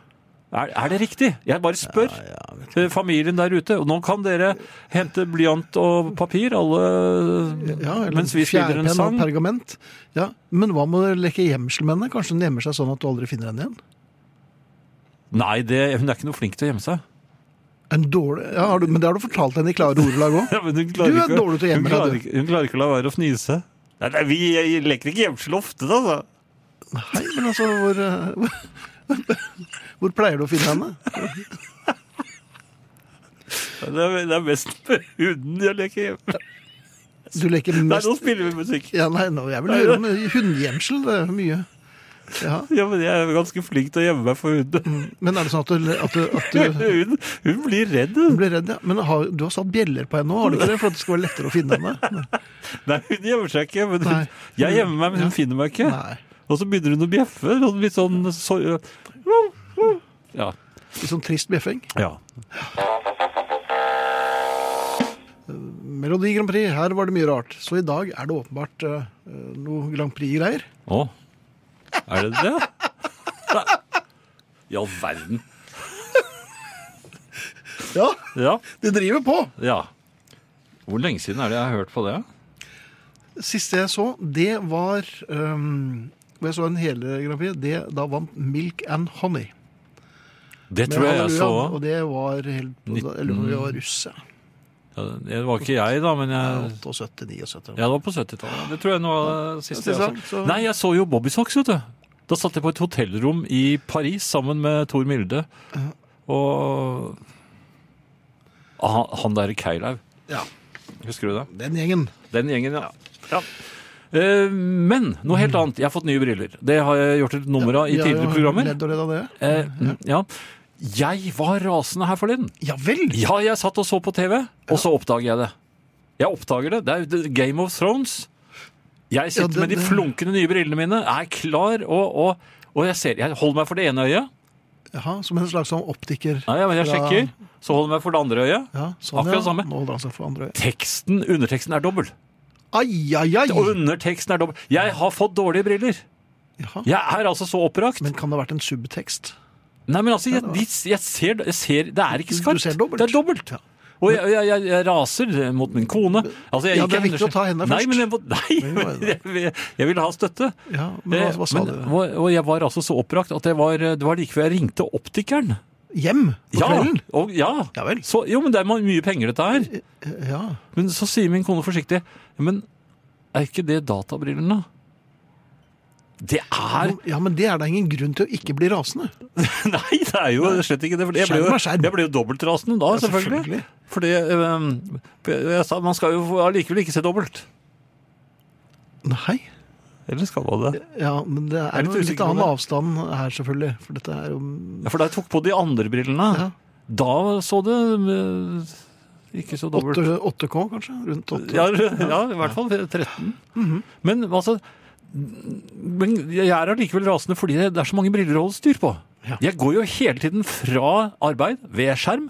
Er, er det riktig? Jeg bare spør eh, familien der ute. Og nå kan dere hente blyant og papir, alle Ja, eller mens vi spiller en fjærpenn sang. og pergament. Ja, Men hva med å leke gjemsel med henne? Kanskje hun gjemmer seg sånn at du aldri finner henne igjen? Nei, det, hun er ikke noe flink til å gjemme seg. En dårlig, ja, har du, men det har du fortalt henne i klare ordelag òg. Ja, men hun Du er ikke å- dårlig til å gjemme hun deg, klarer du. ikke- Hun klarer ikke å la være å fnise. Nei, nei, vi eh, leker ikke gjemsel ofte, da. altså. da. Nei, men altså, hvor, eh, hvor, hvor pleier du å finne henne? Det er, det er mest med hunden jeg leker hjemme. Du leker Nei, mest nå spiller vi musikk. ja, Nei, nå, jeg vil høre om hundegjemsel. Det er mye. Ja, Ja, men jeg er ganske flink til å gjemme meg for hunden. Men er det sånn at du, at du, Mm. at du Hun, hun blir redd. hun. blir redd? Ja. Men har, du har satt bjeller på henne nå, har du ikke det? For at det skal være lettere å finne henne? Nei, hun gjemmer seg ikke. Men hun, Nei. jeg gjemmer meg, men hun finner meg ikke. Nei. Og så begynner hun å bjeffe. Sånn, litt sånn så, ja. Litt sånn trist bjeffing. ja. Melodi Grand Prix, her var det mye rart. Så i dag er det åpenbart eh, noe Grand Prix-greier. Å. Er det det? Nei. I all verden. Ja, Ja. de driver på! ja. Hvor lenge siden er det jeg har hørt på det? Siste jeg så, det var um, hvor Jeg så en hele Grand Prix. Det, da vant Milk and Honey. Det med tror jeg jeg Halleluja, så. Og det var helt Eller vi var russ, ja. Ja, Det var ikke jeg, da, men jeg 78-79. Ja, det var på 70-tallet. Det tror jeg nå sist jeg Siste så. gang, så- Nei, jeg så jo Bobby Socks, vet du. Da satt jeg på et hotellrom i Paris sammen med Tor Milde og Ah, han der Keilaug. Ja. Husker du det? Den gjengen. Den gjengen, ja. Mm. ja. Eh, Men noe helt annet. Jeg har fått nye briller. Det har jeg gjort et nummer av i Vi har jo tidligere programmer. ledd og ledd av det. Eh, Mhm. Ja. Jeg var rasende her forleden. Ja vel! Ja, jeg satt og så på TV, og så oppdager jeg det. Jeg oppdager det. Det er jo The Game of Thrones. Jeg Ja, sitter det- med de det- flunkende nye brillene mine, er klar, og, og, og jeg ser Jeg holder meg for det ene øyet. Jaha, som en slags sånn optiker. Nei, men jeg Ja. sjekker. Så holder jeg meg for det andre øyet. Ja, sånn, ja. Akkurat samme. Nå holder han seg for andre øyet. Teksten, underteksten er dobbel. Ai, ai, ai! Og underteksten er dobbel. Jeg har fått dårlige briller. Jaha. Jeg er altså så oppbrakt. Men kan det ha vært en subtekst? Nei, men altså, jeg, de, jeg, ser, jeg ser Det er ikke Du skarpt. ser dobbelt. Det er dobbelt. Ja. Og jeg, jeg, jeg, jeg raser mot min kone. Altså, jeg Ja, gikk det er i viktig å ta henne Nei, først. men jeg, må- nei, jeg, vil- jeg vil ha støtte. Ja, men hva, hva sa Eh, du? og- Og jeg var altså så oppbrakt at det var, det var like før jeg ringte optikeren. Hjem? På kvelden? og, ja. Ja vel. Så, jo, men det er mye penger dette her. Ja. Men så sier min kone forsiktig, men er ikke det databrillene? Det er ja, men det er da ingen grunn til å ikke bli rasende. Nei, det er jo slett ikke det. For jeg ble jo, Skjerm er skjerm. jeg ble jo dobbeltrasende da, Ja, selvfølgelig. selvfølgelig. Fordi øhm, jeg sa, man skal jo få- allikevel ikke se dobbelt. Nei. Eller skal man det? Ja, men det er, Jeg er litt jo en usikker litt på annen det. avstand her, selvfølgelig. For dette er jo Ja, for da jeg tok på de andre brillene, Ja. da så det øh, ikke så dobbelt. 8, 8K, kanskje? Rundt 8. Ja, ja, i hvert fall 13. Mhm. Men altså men jeg er allikevel rasende fordi det er så mange briller å holde styr på. Ja. Jeg går jo hele tiden fra arbeid ved skjerm,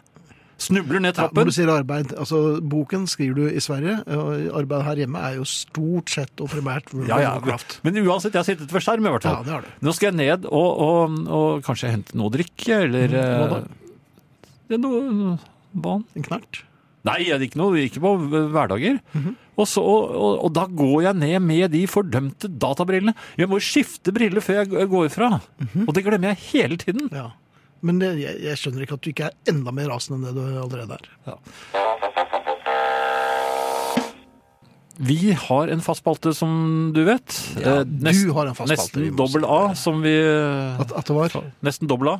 snubler Ja, ned når trappen du sier arbeid, altså Boken skriver du i Sverige, og arbeid her hjemme er jo stort sett og primært World Ja, of ja. Warcraft. Men uansett, jeg har sittet ved skjerm i hvert fall. Ja, det har du. Nå skal jeg ned og, og, og kanskje Mm, hente noe å drikke, eller hva da? eh, ja, noe vann. En knert. Nei, jeg gikk noe, det gikk på hverdager. Mhm. og, så, og, og, og da går jeg ned med de fordømte databrillene. Jeg må skifte briller før jeg g- går fra. Og det glemmer jeg hele tiden. Mhm. Ja. Men det, jeg, jeg skjønner ikke at du ikke er enda mer rasende enn det du allerede er. Vi har en fast spalte, som du vet. Ja, Eh, du har en fast spalte, vi Nesten må dobbel A, som vi At, at det var, Nesten dobbel A.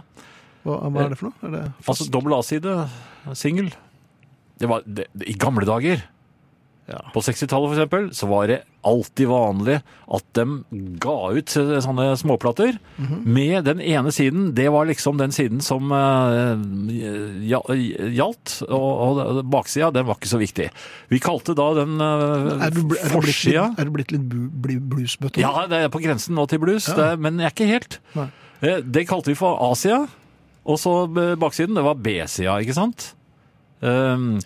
hva, hva er det for noe? Er det Altså dobbel A-side. Singel. Det var det, det, I gamle dager, Ja. på 60-tallet for eksempel, så var det alltid vanlig at de ga ut eh, sånne småplater Mhm. med den ene siden. Det var liksom den siden som eh, gja- gjaldt, og, og baksida, den var ikke så viktig. Vi kalte da den er du, bl- uh, er du, blitt, forsida litt, er du blitt litt bu- bli- bluesbøtte? nå? ja, det er på grensen nå til blues, det, er- men jeg er ikke helt. Nei. Eh, Det kalte vi for Asia, og så eh, baksiden, det var B-sida, ikke sant? Um,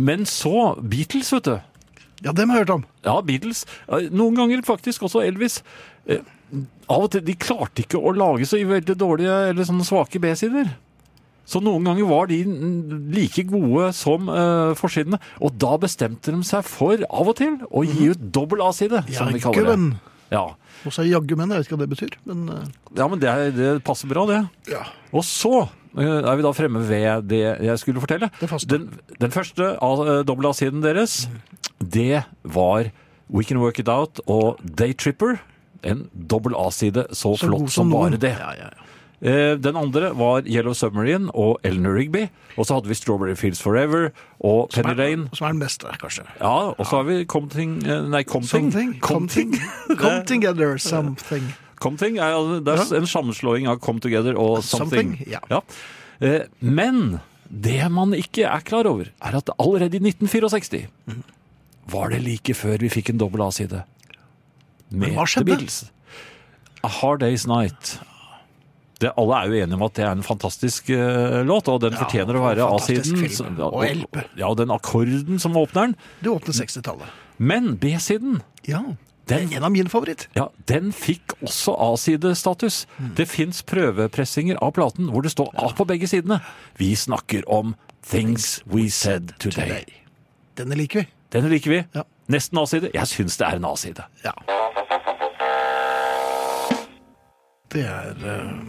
men så Beatles, vet du. ja, dem har jeg hørt om. Ja, Beatles. Eh, Noen ganger faktisk også Elvis. Eh, Av og til, de klarte ikke å lage så veldig dårlige eller sånne svake B-sider. Så noen ganger var de mm, like gode som eh, forsidene, og da bestemte de seg for, av og til, å gi ut dobbel A-side, som vi kaller det. Jaggumenn. Ja, Og så er jaggu menn, jeg vet ikke hva det betyr. Men eh, ja, men det, er- det passer bra, det. Ja. Og så eh, er vi da fremme ved det jeg skulle fortelle. Det faste. Den, den første av eh, dobbel A-siden deres, det var We Can Work It Out og Daytripper. En dobbel A-side så, så flott god som, noen. bare det. Ja, ja, ja. Eh, Den andre var Yellow Submarine og Eleanor Rigby. Og så hadde vi Strawberry Fields Forever og Penny Lane. Som er den beste, kanskje. Ja, og så har vi Comting eh, Nei, Comting. Something. Come, Comting. to- come together, something. Comting er, det er en sammenslåing av Come Together og Something. Something, ja. Eh, Men det man ikke er klar over, er at allerede i 1964 var det like før vi fikk en dobbel A-side. Med Men hva skjedde? The Beatles. A Hard Day's Night. Det, alle er jo enige om at det er en fantastisk eh, låt, og den fortjener å være fantastisk A-siden. film, Så- og LP. Ja, den akkorden som åpner den. Det åpner 60-tallet. Men B-siden Ja. Det Den- er en av mine favoritter. ja, den fikk også A-sidestatus. Det fins prøvepressinger av platen hvor det står A på begge sidene. Vi snakker om Things We Said Today. Denne liker vi. Den liker vi. Ja. Nesten A-side. Jeg syns det er en A-side. Ja. Det er eh,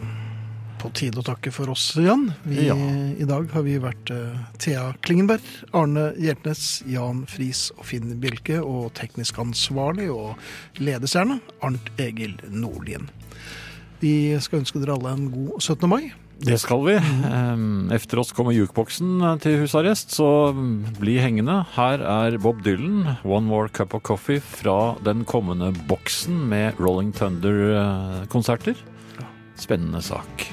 på tide å takke for oss, Jan. Vi, Ja. I dag har vi vært eh, Thea Klingenberg, Arne Hjeltnes, Jan Friis og Finn Bjelke, og teknisk ansvarlig og ledestjerne Arnt Egil Nordlien. Vi skal ønske dere alle en god 17. mai. Det skal vi. Ehm, Efter oss kommer jukeboksen eh, til husarrest, så mm, bli hengende. Her er Bob Dylan, 'One More Cup of Coffee', fra den kommende boksen med Rolling Thunder-konserter. Spennende sak.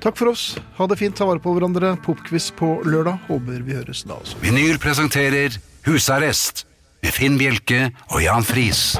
Takk for oss. Ha det fint, ta vare på hverandre. Popquiz på lørdag. Håper vi høres da også. Vinyl presenterer Husarrest med Finn Bjelke og Jan Friis.